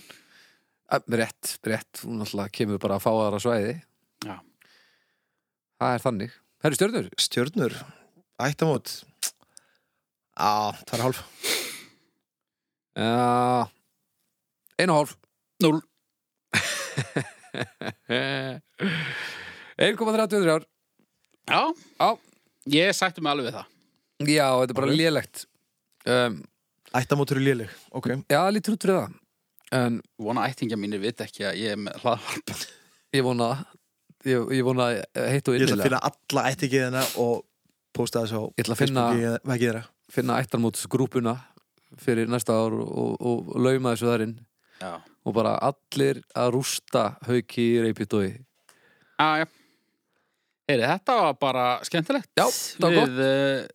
[SPEAKER 1] Að- rétt, rétt, hún náttúrulega kemur bara að fá aðra svæði
[SPEAKER 2] Já.
[SPEAKER 1] það er þannig Herru stjörnur,
[SPEAKER 3] stjörnur Ættamót Já, það er hálf
[SPEAKER 1] uh, einu og hálf
[SPEAKER 2] Núl.
[SPEAKER 1] 1,33 ár
[SPEAKER 2] Já,
[SPEAKER 1] Já.
[SPEAKER 2] ég sætti mig alveg við það.
[SPEAKER 1] Já, þetta er bara
[SPEAKER 3] Ok.
[SPEAKER 1] lélegt um,
[SPEAKER 3] Ættamót eru léleg Ok
[SPEAKER 1] Já, það lítur út fyrir það En
[SPEAKER 2] Vona ættingja mínir vit ekki að ég er með hlaðvarp.
[SPEAKER 1] ég vona Ég, ég vona heitt og
[SPEAKER 3] Ég ætla að
[SPEAKER 1] innilega
[SPEAKER 3] finna alla ættikiðina og posta þess á
[SPEAKER 1] Ég ætla að finna-
[SPEAKER 3] Facebooki, Hvað gera?
[SPEAKER 1] finna ættarmótsgrúpuna fyrir næsta ár og, og, og lauma þessu þarinn
[SPEAKER 2] Já.
[SPEAKER 1] og bara allir að rústa hauki í reypitói
[SPEAKER 2] Já, já. Heyri, þetta var bara skemmtilegt.
[SPEAKER 1] Já, það var
[SPEAKER 2] Við uh,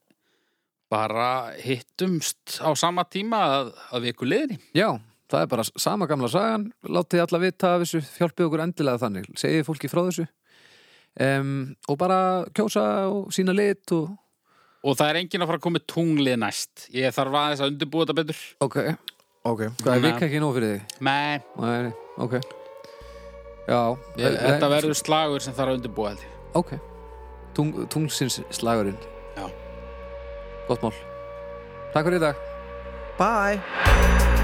[SPEAKER 2] bara hittumst á sama tíma að, að viku liðinni.
[SPEAKER 1] Já, það er bara sama gamla sagan látið alla vita af þessu, hjálpið okkur endilega þannig segið fólki frá þessu um, og bara kjósa og sína lit og
[SPEAKER 2] Og það er enginn að fara að koma með tunglið næst. Ég þarf aðeins að undirbúa þetta betur.
[SPEAKER 1] ok,
[SPEAKER 3] Ok
[SPEAKER 1] hvað er
[SPEAKER 2] Þannig að-
[SPEAKER 1] vika ekki nóg fyrir þig?
[SPEAKER 2] Nei,
[SPEAKER 1] Nei, ok Já,
[SPEAKER 2] ég,
[SPEAKER 1] eh,
[SPEAKER 2] þetta
[SPEAKER 1] nei,
[SPEAKER 2] verður slagur sem þarf að undirbúa held ég.
[SPEAKER 1] Ok, Tung, tungsins slagurinn
[SPEAKER 2] Já.
[SPEAKER 1] Gott mál Takk fyrir í dag
[SPEAKER 3] Bye